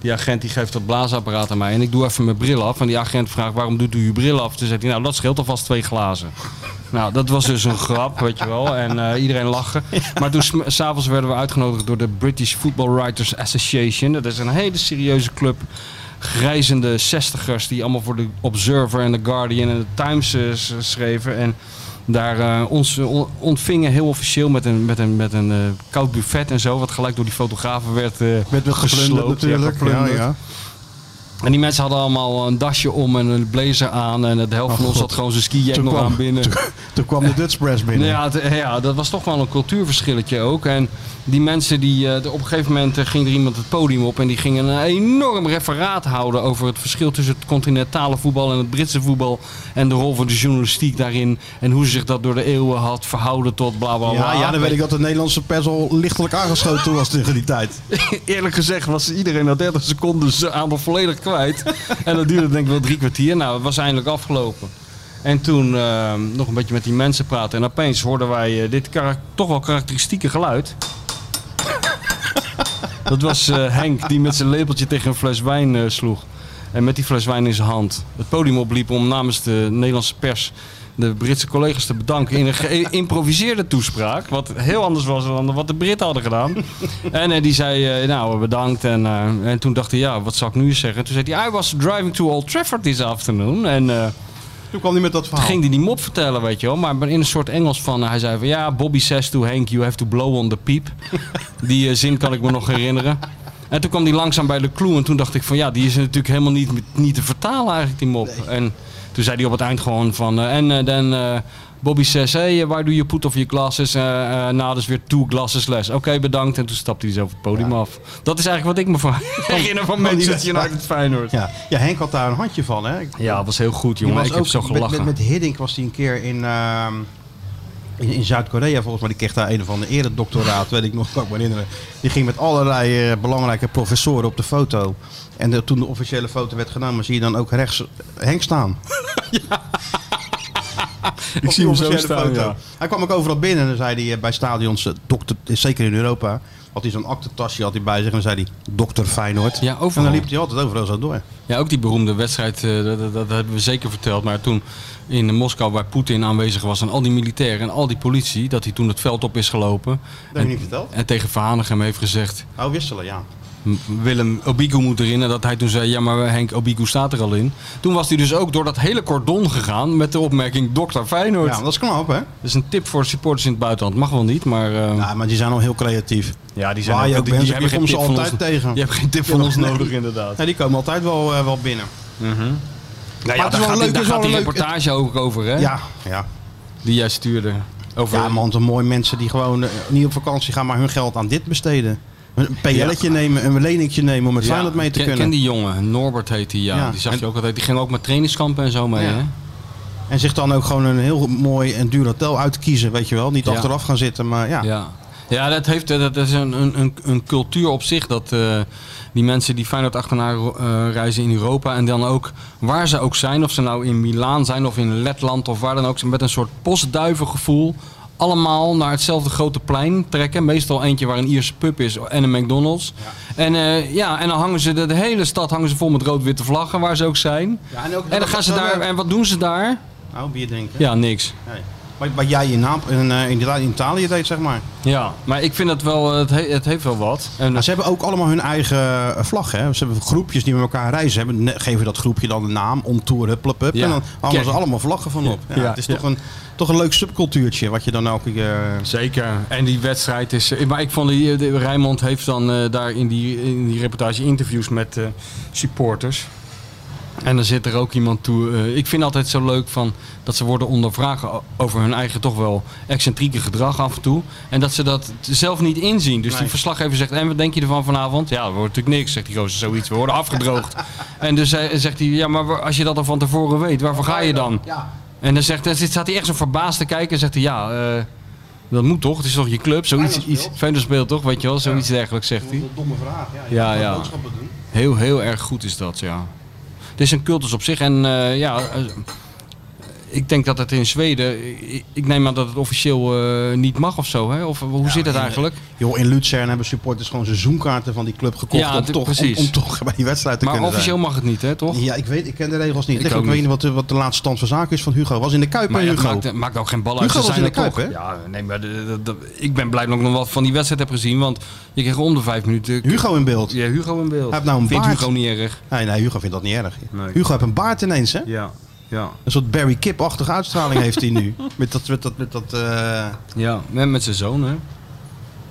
die agent die geeft dat blaasapparaat aan mij. En ik doe even mijn bril af. En die agent vraagt, waarom doet u uw bril af? Toen zei hij, nou dat scheelt alvast twee glazen. Nou, dat was dus een grap, weet je wel. En eh, iedereen lachen. Maar toen sm- s'avonds werden we uitgenodigd door de British Football Writers Association. Dat is een hele serieuze club. Grijzende zestigers die allemaal voor de Observer en de Guardian en de Times eh, s- schreven. En daar eh, ons eh, on- ontvingen heel officieel met een, met een, met een eh, koud buffet en zo. Wat gelijk door die fotografen werd eh Werd wel geplunderd gesloopt. Ja, natuurlijk. Ja, geplunderd. ja. En die mensen hadden allemaal een dasje om en een blazer aan. En de helft Oh, van ons had gewoon zijn ski-jack nog aan binnen. Toen kwam de Dutch Press binnen. Nou Ja, het- ja, dat was toch wel een cultuurverschilletje ook. En die mensen die. eh, op een gegeven moment eh, ging er iemand het podium op. En die ging een enorm referaat houden over het verschil tussen het continentale voetbal en het Britse voetbal. En de rol van de journalistiek daarin. En hoe ze zich dat door de eeuwen had verhouden tot bla bla bla. Ja, ja, dan weet ik dat de Nederlandse pers al lichtelijk aangeschoten was tegen die tijd. Eerlijk gezegd was iedereen na 30 seconden zijn aandacht volledig kwijt. en dat duurde denk ik wel drie kwartier. Nou, het was eindelijk afgelopen. En toen eh, nog een beetje met die mensen praten. En opeens hoorden wij eh, dit karak- toch wel karakteristieke geluid. dat was eh, Henk die met zijn lepeltje tegen een fles wijn eh, sloeg. En met die fles wijn in zijn hand het podium opliep om namens de Nederlandse pers de Britse collega's te bedanken in een geïmproviseerde toespraak. Wat heel anders was dan wat de Britten hadden gedaan. En eh, die zei, eh, nou bedankt. En, eh, en toen dacht hij, ja, wat zou ik nu eens zeggen? Toen zei hij, I was driving to Old Trafford this afternoon. En eh, Toen kwam hij met dat verhaal. ging hij die mop vertellen, weet je wel. Maar in een soort Engels van, eh, hij zei van, ja, Bobby says to Henk, you have to blow on the peep. Die eh, zin kan ik me nog herinneren. En toen kwam die langzaam bij de clue en toen dacht ik van, ja, die is natuurlijk helemaal niet, niet te vertalen eigenlijk, die mop. En toen zei hij op het eind gewoon van, eh, en eh, dan... eh, Bobby says, hey, eh, why do you put off your glasses? eh eh, nou, dus weer two glasses less. Oké, bedankt. En toen stapte hij zo van het podium af. Dat is eigenlijk wat ik me van herinner van Manchester United Feyenoord. Ja. ja, Henk had daar een handje van, hè? Ik- Ja, het was heel goed, die jongen. was Ik heb ook- zo met- gelachen. Met, met Hiddink was hij een keer in... ehm, In, in Zuid-Korea volgens mij, die kreeg daar een of ander eredoctoraat, weet ik nog, kan ik me herinneren. Die ging met allerlei eh, belangrijke professoren op de foto. En eh, toen de officiële foto werd genomen, zie je dan ook rechts eh, Henk staan. Ik Op zie die hem zo officiële staan, foto. ja. Hij kwam ook overal binnen en dan zei hij eh, bij stadions, eh, dokter, eh, zeker in Europa, had hij zo'n aktentasje had hij bij zich en dan zei hij, dokter Feyenoord. Ja, overal. En dan liep hij altijd overal zo door. Ja, ook die beroemde wedstrijd, eh, dat, dat, dat hebben we zeker verteld. Maar toen in Moskou, waar Poetin aanwezig was en al die militairen en al die politie, dat hij toen het veld op is gelopen. Dat heb je niet verteld? En tegen Verhanegem heeft gezegd, Oh, wisselen, ja. M- Willem Obiku moet erin. En dat hij toen zei, ja maar Henk Obiku staat er al in. Toen was hij dus ook door dat hele cordon gegaan met de opmerking dokter Feyenoord. Ja, dat is knap, hè? Dat is een tip voor supporters in het buitenland. Mag wel niet, maar... eh, Ja, maar die zijn al heel creatief. ja, die waar je ook- ook bent, hebben je geen komt ze tip van altijd ons- tegen. Je hebt geen tip van ons nodig, inderdaad. Mhm. Ja, die komen altijd wel, eh, wel binnen. Nou ja, het is daar wel leuk, gaat, die, daar het is gaat wel die leuk. reportage ook over, hè? Ja, ja. Die jij stuurde. Over Ja, man, de mooie mensen die gewoon eh, niet op vakantie gaan, maar hun geld aan dit besteden. Een PL'tje nemen, een leningje nemen om het Feyenoord mee te ken, kunnen. ken die jongen, Norbert heet die, ja. Ja. Die zag je ook altijd. Die ging ook met trainingskampen en zo mee, Ja. hè? En zich dan ook gewoon een heel mooi en duur hotel uitkiezen, weet je wel. Niet Ja. achteraf gaan zitten, maar ja. Ja. Ja, dat, heeft, eh, dat is een, een, een- een cultuur op zich. Dat eh, die mensen die Feyenoord achterna ro- eh, reizen in Europa. En dan ook waar ze ook zijn. Of ze nou in Milaan zijn of in Letland of waar dan ook. ze Met een soort postduivengevoel. Allemaal naar hetzelfde grote plein trekken. Meestal eentje waar een Ierse pub is en een McDonald's. En, eh, ja, en dan hangen ze de, de hele stad hangen ze vol met rood-witte vlaggen waar ze ook zijn. Ja, en ook- en dan gaan ze dat- daar. En wat doen ze daar? Nou, bier drinken. Ja, niks. Nee. Wat, wat jij in, Nap- in, eh, in Italië- in Italië deed, zeg maar. Ja, maar ik vind dat wel. Het, he- het heeft wel wat. En, Nou, ze hebben ook allemaal hun eigen eh, vlag. Hè? Ze hebben groepjes die met elkaar reizen. Hebben, ne- geven dat groepje dan een naam, omtour, hup, hup, hup. Ja. En dan hangen ze Kijk. allemaal vlaggen van op. Ja, Ja, het is ja. toch, een, toch een leuk subcultuurtje wat je dan ook... eh Zeker. En die wedstrijd is. eh, Maar ik vond die. de- Rijnmond heeft dan eh, daar in die, in die reportage interviews met eh, supporters. En dan zit er ook iemand toe. eh, ik vind altijd zo leuk van dat ze worden ondervragen o- over hun eigen toch wel excentrieke gedrag af en toe. En dat ze dat t- zelf niet inzien. Dus die verslaggever zegt: En wat denk je ervan vanavond? Ja, dat wordt natuurlijk niks, zegt die gozer zoiets. We worden afgedroogd. en dus hij- zegt hij: Ja, maar wa- als je dat al van tevoren weet, waarvoor ga je dan? En dan zegt, dan zit- staat hij echt zo verbaasd te kijken en zegt hij: Ja, eh, dat moet toch? Het is toch je club? Zoiets. Feyenoord Iets, speelt. Feyenoord speelt toch? Weet je wel, zoiets dergelijks zegt hij. domme vraag. Ja, je Ja, moet wel ja. boodschappen Heel, heel erg goed is dat, ja. Het is een cultus op zich. En eh, ja, eh, ik denk dat het in Zweden... Ik, ik neem aan dat het officieel eh, niet mag of zo, hè? Of hoe zit het in- eigenlijk? Joh, in Luzern hebben supporters gewoon seizoenkaarten van die club gekocht Ja, om, t- toch, om, precies. om toch bij die wedstrijd te Maar kunnen zijn. officieel mag het niet, hè, toch? Ja, ik weet, ik ken de regels niet. Ik Ik, ik ook weet niet. niet wat de, wat de laatste stand van zaken is van Hugo. Was in de Kuip, Maar hè, ja, het Hugo? maakt, het maakt ook geen bal uit. Hugo Ze was zijn in de er toch. Kuip, hè? Ja, nee, maar de- de- de- ik ben blij dat ik nog wat van die wedstrijd heb gezien. Want je kreeg om de vijf minuten... Hugo in beeld. Ja, Hugo in beeld. Hij heeft nou een Vindt baard. Hugo niet erg? Nee, nee, Hugo vindt dat niet erg. Nee. Hugo heeft een baard ineens, hè? Ja, ja. Een soort Barry Kip-achtige uitstraling heeft hij nu. Met dat, met dat, met dat, eh, Ja, en met zijn zoon, hè?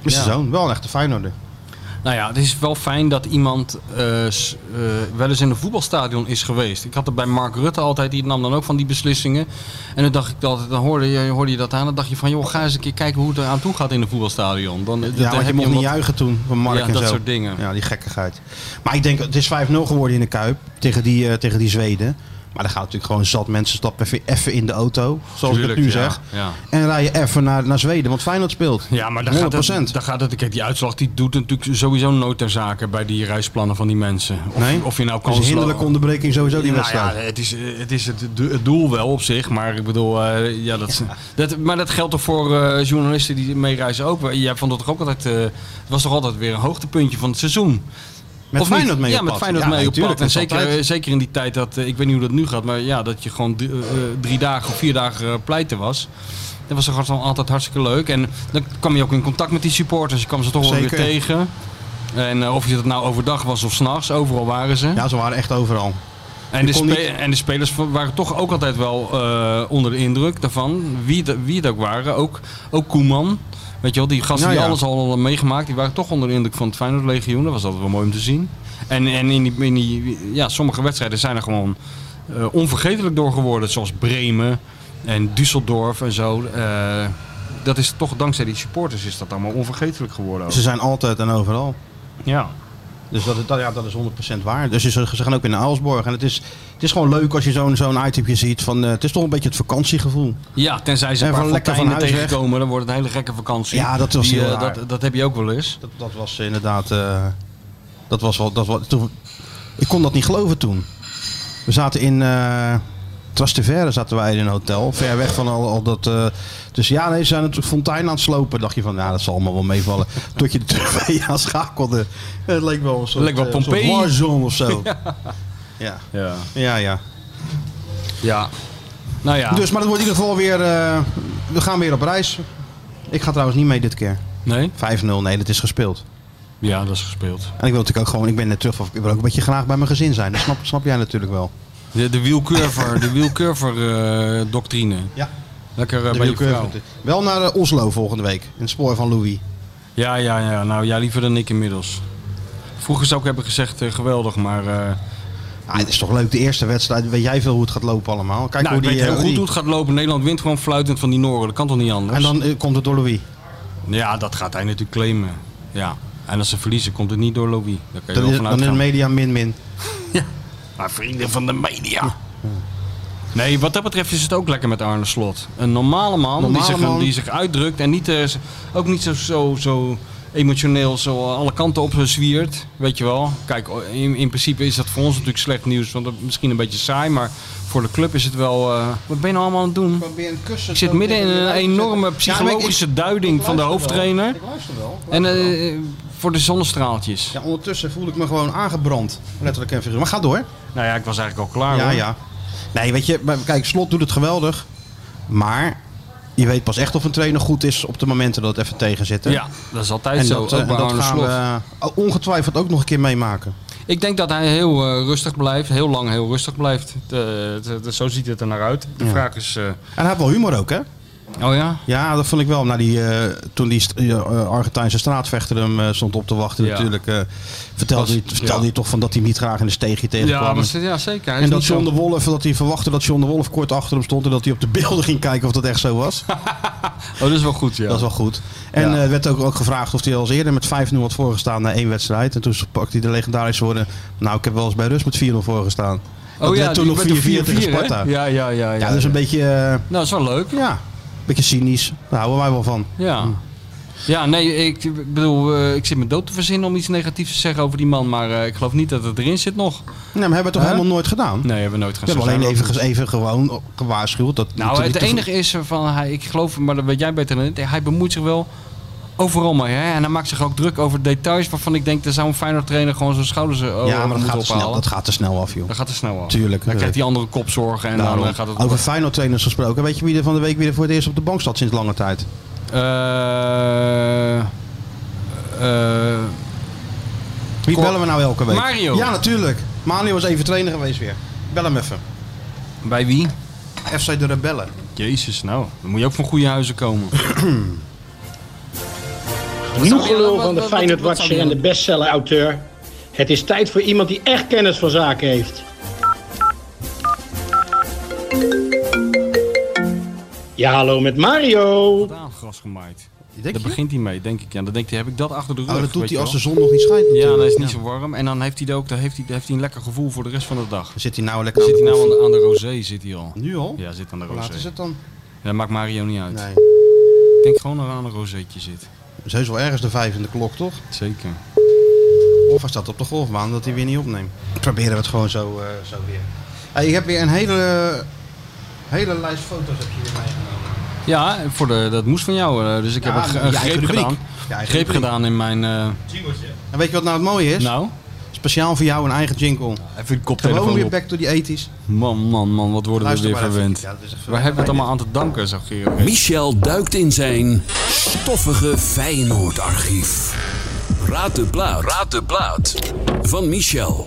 met zijn Ja. zoon. Wel een echte Feyenoorder. Nou ja, het is wel fijn dat iemand eh, s- eh, wel eens in een voetbalstadion is geweest. Ik had het bij Mark Rutte altijd, die nam dan ook van die beslissingen. En dan dacht ik altijd, dan hoorde je, hoorde je dat aan. Dan dacht je van, joh, ga eens een keer kijken hoe het eraan toe gaat in een voetbalstadion. Dan, Ja, want je mocht niet juichen toen van Mark Ja, en dat zo. soort dingen. Ja, die gekkigheid. Maar ik denk, het is 5-0 geworden in de Kuip tegen die, eh, tegen die Zweden. Maar dan gaan natuurlijk gewoon zat mensen stappen even- even in de auto, zoals Tuurlijk, ik het nu ja, zeg. ja. En rijden even naar, naar Zweden, want Feyenoord speelt. Ja, maar daar 100%. gaat, het, daar gaat het. Kijk, die uitslag die doet natuurlijk sowieso nooit ter zake bij die reisplannen van die mensen. Of, Nee? of je nou Dus kan een hinderlijke onderbreking sowieso die nou wedstrijd. ja, het is, het is het, do- het doel wel op zich, maar ik bedoel, eh, ja, dat, is- dat, maar dat geldt toch voor eh, journalisten die meereizen ook. Jij vond dat toch ook altijd, eh, het was toch altijd weer een hoogtepuntje van het seizoen. met Of niet? Feyenoord mee ja, op met pad. Feyenoord mee op natuurlijk, pad. En dat is zeker, altijd. eh, zeker in die tijd dat, eh, ik weet niet hoe dat nu gaat, maar ja, dat je gewoon drie, eh, eh, drie dagen of vier dagen eh, pleiten was. Dat was toch altijd- altijd hartstikke leuk. En dan kwam je ook in contact met die supporters. Je kwam ze toch wel weer Zeker. tegen. En eh, of je dat nou overdag was of s'nachts, overal waren ze. Ja, ze waren echt overal. En de, kon spe- niet- en de spelers v- waren toch ook altijd wel eh, onder de indruk daarvan. Wie, de- wie het ook waren. Ook, ook Koeman. Weet je wel, die gasten Nou die ja. alles al hadden meegemaakt, die waren toch onder de indruk van het Feyenoord Legioen. Dat was altijd wel mooi om te zien. En, en in die, in die, ja, sommige wedstrijden zijn er gewoon eh, onvergetelijk door geworden. Zoals Bremen en Düsseldorf en zo. Eh, dat is toch dankzij die supporters is dat allemaal onvergetelijk geworden. ook. Ze zijn altijd en overal. Ja. Dus dat, dat, ja, dat is 100% waar. Dus ze, ze gaan ook weer naar Aalsborg. En het is, het is gewoon leuk als je zo'n zo'n itemje ziet. Van, eh, het is toch een beetje het vakantiegevoel. Ja, tenzij ze een En paar van lekker fonteinen van huis weg. tegenkomen, dan wordt het een hele gekke vakantie. Ja, dat was Die, heel eh, raar. dat, dat heb je ook wel eens. Dat, dat was inderdaad. eh, dat was wel. Dat was, toen, ik kon dat niet geloven toen. We zaten in. eh Trastevere zaten wij in een hotel. Ver weg van al, al dat. eh, dus ja, nee, ze zijn natuurlijk fontein aan het slopen. Dacht je van, nou, dat zal allemaal wel meevallen. Tot je de tv aanschakelde. Het leek wel een soort. Leek wel eh, een soort Pompeii. warzone of zo. Ja. Ja. Ja, ja. ja. Nou ja. Dus, maar dat wordt in ieder geval weer. eh, we gaan weer op reis. Ik ga trouwens niet mee dit keer. Nee? 5-0, nee, dat is gespeeld. Ja, dat is gespeeld. En ik wil natuurlijk ook gewoon, ik ben net terug, van- ik wil ook een beetje graag bij mijn gezin zijn. Dat snap, snap jij natuurlijk wel. De, de wielcurver, de wielcurver eh, doctrine. Ja. Lekker eh, De bij je wielcurve vrouw. natuurlijk. Wel naar eh, Oslo volgende week, in het spoor van Louis. Ja, ja, ja. Nou ja, liever dan ik inmiddels. Vroeger zou ik hebben gezegd eh, geweldig, maar... eh, Ah, het is toch leuk, de eerste wedstrijd, weet jij veel hoe het gaat lopen allemaal. Kijk nou, hoe ik die... weet eh, heel hoe goed die- hoe het gaat lopen. Nederland wint gewoon fluitend van die Noren. Dat kan toch niet anders? En dan eh, komt het door Louis. Ja, dat gaat hij natuurlijk claimen. Ja. En als ze verliezen, komt het niet door Louis. Daar kan je Dan wel is, van dan is de uitgaan. media min-min. Maar vrienden van de media. Nee, wat dat betreft is het ook lekker met Arne Slot. Een normale man, Normale die, zich, man. die zich uitdrukt en niet, eh, z- ook niet zo, zo, zo emotioneel zo alle kanten op zwiert. Weet je wel. Kijk, o- in, in principe is dat voor ons natuurlijk slecht nieuws, want dat is misschien een beetje saai, maar voor de club is het wel. eh, wat ben je nou allemaal aan het doen? Ik zit midden in een enorme psychologische duiding van de hoofdtrainer. Ik luister wel. En eh, voor de zonnestraaltjes. ja, ondertussen voel ik me gewoon aangebrand. Letterlijk en figuurlijk. Maar ga door. Nou ja, ik was eigenlijk al klaar. Ja, hoor. ja. Nee, weet je, maar kijk, Slot doet het geweldig. Maar je weet pas echt of een trainer goed is op de momenten dat het even tegen zit. hè? Ja, dat is altijd en zo. dat, ook eh, en bij dat Arne gaan Slot. we eh, ongetwijfeld ook nog een keer meemaken. Ik denk dat hij heel eh, rustig blijft, heel lang heel rustig blijft. De- de- de- zo ziet het er naar uit. De vraag is. eh, En hij heeft wel humor ook, hè? oh ja? Ja, dat vond ik wel. Na die, eh, toen die st- eh, eh, Argentijnse straatvechter hem eh, stond op te wachten, Ja. natuurlijk. eh, vertelde Was- hij, vertelde ja. hij toch van dat hij hem niet graag in de steegje Ja, tegenkwam. maar, ja, zeker. Hij is en dat niet zo- John de Wolf, dat hij verwachtte dat John de Wolf kort achter hem stond en dat hij op de beelden ging kijken of dat echt zo was. Oh, dat is wel goed, ja. Dat is wel goed. En eh, werd ook, ook gevraagd of hij al eens eerder met 5-0 had voorgestaan na één wedstrijd. En toen pakte hij de legendarische woorden. Nou, ik heb wel eens bij Rust met 4-0 voorgestaan. oh Dat ja, werd toen die nog 4-4 werd de tegen 4-4, hè? Sparta. Ja, Ja, ja, ja. ja, dat is een beetje, eh, Nou, dat is wel leuk. ja, een beetje cynisch. Daar houden wij wel van. Ja. Ja, nee, ik ik bedoel, eh, ik zit me dood te verzinnen om iets negatiefs te zeggen over die man, maar eh, ik geloof niet dat het erin zit nog. Nee, maar hebben we het toch Huh? helemaal nooit gedaan? Nee, hebben Nou, we nooit gaan We hebben zeggen. alleen even, even gewoon gewaarschuwd. Dat Nou, dat- het dat- enige is van, hij, ik geloof, maar dat weet jij beter dan ik, hij bemoeit zich wel overal mee. Hè? En hij maakt zich ook druk over details waarvan ik denk, daar zou een Feyenoord trainer gewoon zijn schouders eh, over Ja, maar dat moeten gaat, te snel, ophalen. dat gaat te snel af, joh. dat gaat er snel af. Tuurlijk. Dan krijgt die andere kopzorgen en Daarom. dan eh, gaat het... Over Feyenoord trainers gesproken. Weet je wie er van de week weer voor het eerst op de bank zat sinds lange tijd? Eh, eh, Wie Cor- bellen we nou elke week? Mario. Ja, natuurlijk. Mario is even trainer geweest weer. Bel hem even. bij wie? FC de Rebellen. Jezus, nou. Dan moet je ook van goede huizen komen. Genoeg gelul van de Feyenoord-watcher en de bestseller-auteur. Het is tijd voor iemand die echt kennis van zaken heeft. Ja, hallo met Mario. Gras gemaaid. Denk Daar je? begint hij mee, denk ik. Ja, dan denkt hij, heb ik dat achter de rug? Oh, dat doet weet hij je als de wel? zon nog niet schijnt. Ja, natuurlijk. dan is het niet zo warm. En dan heeft hij, er ook, dan heeft hij, heeft hij een lekker gevoel voor de rest van de dag. Dan Zit hij nou lekker Zit hij nou aan de, aan de rosé, zit hij al. Nu al? Ja, zit aan de Hoe laat is rosé. het dan? Dat maakt Mario niet uit. Nee. Ik denk gewoon dat er aan een rozeetje zit. Het is heus wel ergens de vijf in de klok, toch? Zeker. Of hij staat op de golfbaan dat hij weer niet opneemt. Proberen we het gewoon zo, eh, zo weer. Hey, ik heb weer een hele, hele lijst foto's heb je weer meegenomen. Ja, voor de, dat moest van jou. eh, Dus ik Ja, heb een, ge- je een eigen greep rubriek. gedaan. Je eigen Greep rubriek. gedaan in mijn... eh, En weet je wat nou het mooie is? nou, Speciaal voor jou een eigen jingle. even de Gewoon koptelefoon weer op. back to the 80s. Man, man, man, wat worden Luister we weer maar even. verwend. Ja, dat is echt Waar hebben we het allemaal aan te danken, zag je. Michel duikt in zijn stoffige Feyenoordarchief. Raad de plaat. Raad de plaat. Van Michel.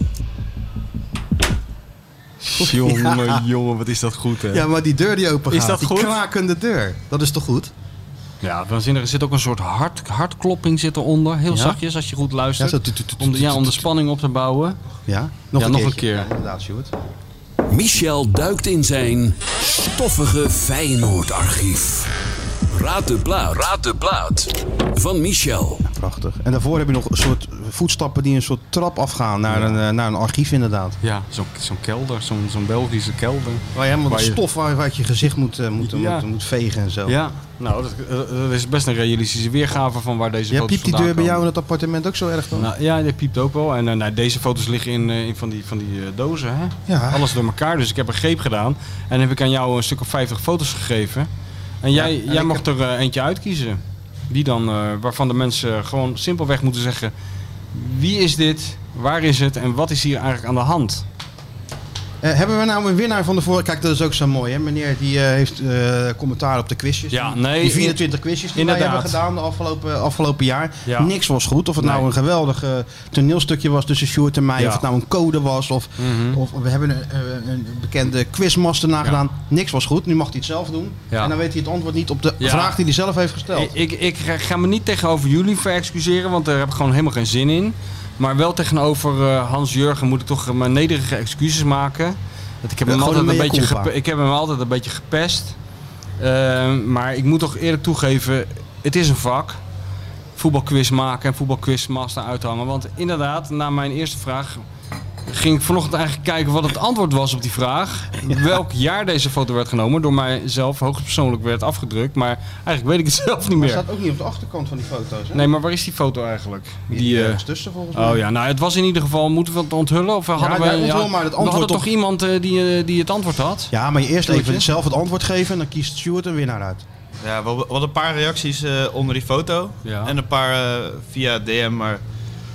Jongen, jongen, wat is dat goed, hè? Ja, maar die deur die open gaat. Is dat die goed? krakende deur. Dat is toch goed? Ja, waanzinnig. Er zit ook een soort hart, hartklopping zit eronder. Heel zachtjes als je goed luistert. Ja, zo tu- tu- tu- tu- om, de, ja, om de tu- spanning op te bouwen. Ja, nog, Ja, een, nog een keertje. keer. Ja, inderdaad, Stuart. Michel duikt in zijn stoffige Feyenoordarchief. Raad de plaat. Raad de plaat. Van Michel. Prachtig. En daarvoor heb je nog een soort voetstappen die een soort trap afgaan naar, een, eh, naar een archief inderdaad. Ja, zo'n zo'n kelder, zo'n zo'n Belgische kelder. Waar je helemaal de je- stof waar- uit je gezicht moet, eh, moet, Ja. moet, moet vegen en zo. Ja, nou, dat, eh, dat is best een realistische weergave van waar deze Ja, foto's piept die vandaan deur bij jou komen. in het appartement ook zo erg dan? Nou, ja, die piept ook wel. En eh, nou, deze foto's liggen in, eh, in van die, van die eh, dozen. Hè? Ja. Alles door elkaar. Dus ik heb een greep gedaan. En heb ik aan jou een stuk of 50 foto's gegeven. En jij, jij mag er eh, eentje uitkiezen. Die dan, eh, waarvan de mensen gewoon simpelweg moeten zeggen: wie is dit? Waar is het? En wat is hier eigenlijk aan de hand? Eh, hebben we nou een winnaar van de vorige? Kijk, dat is ook zo mooi. Hè? Meneer die eh, heeft eh, commentaar op de quizjes. Ja, Die- nee, die 24 quizjes die wij inderdaad. hebben gedaan de afgelopen, eh, afgelopen jaar. Ja. Niks was goed. Of het nou Nee. een geweldig eh, toneelstukje was tussen Sjoerd en mij. Ja. Of het nou een code was. Of, Mhm. of we hebben een, eh, een bekende quizmaster nagedaan. Niks was goed. Nu mag hij het zelf doen. Ja. En dan weet hij het antwoord niet op de Ja. vraag die hij zelf heeft gesteld. Ik, ik, ik ga me niet tegenover jullie verexcuseren, want daar heb ik gewoon helemaal geen zin in. Maar wel tegenover eh, Hans Jurgen moet ik toch mijn nederige excuses maken. Want ik, heb Ja, hem gewoon altijd een een mea beetje culpa. gepe- ik heb hem altijd een beetje gepest. Eh, maar ik moet toch eerlijk toegeven, het is een vak. Voetbalquiz maken en voetbalquizmaster uithangen. Want inderdaad, na mijn eerste vraag ging ik vanochtend eigenlijk kijken wat het antwoord was op die vraag. Welk jaar deze foto werd genomen, door mijzelf hoogstpersoonlijk werd afgedrukt. Maar eigenlijk weet ik het zelf niet Maar meer. staat ook niet op de achterkant van die foto's. Hè? Nee, maar waar is die foto eigenlijk? Die, Die, die eh, ergens tussen volgens mij. Oh ja, nou het was in ieder geval, moeten we het onthullen? Of hadden Ja, we, ja, onthul maar het we hadden antwoord op- toch iemand eh, die, eh, die het antwoord had? Ja, maar je eerst Doeltje? even zelf het antwoord geven en dan kiest Stuart een winnaar uit. Ja, we we hadden een paar reacties eh, onder die foto. Ja. En een paar eh, via DM, maar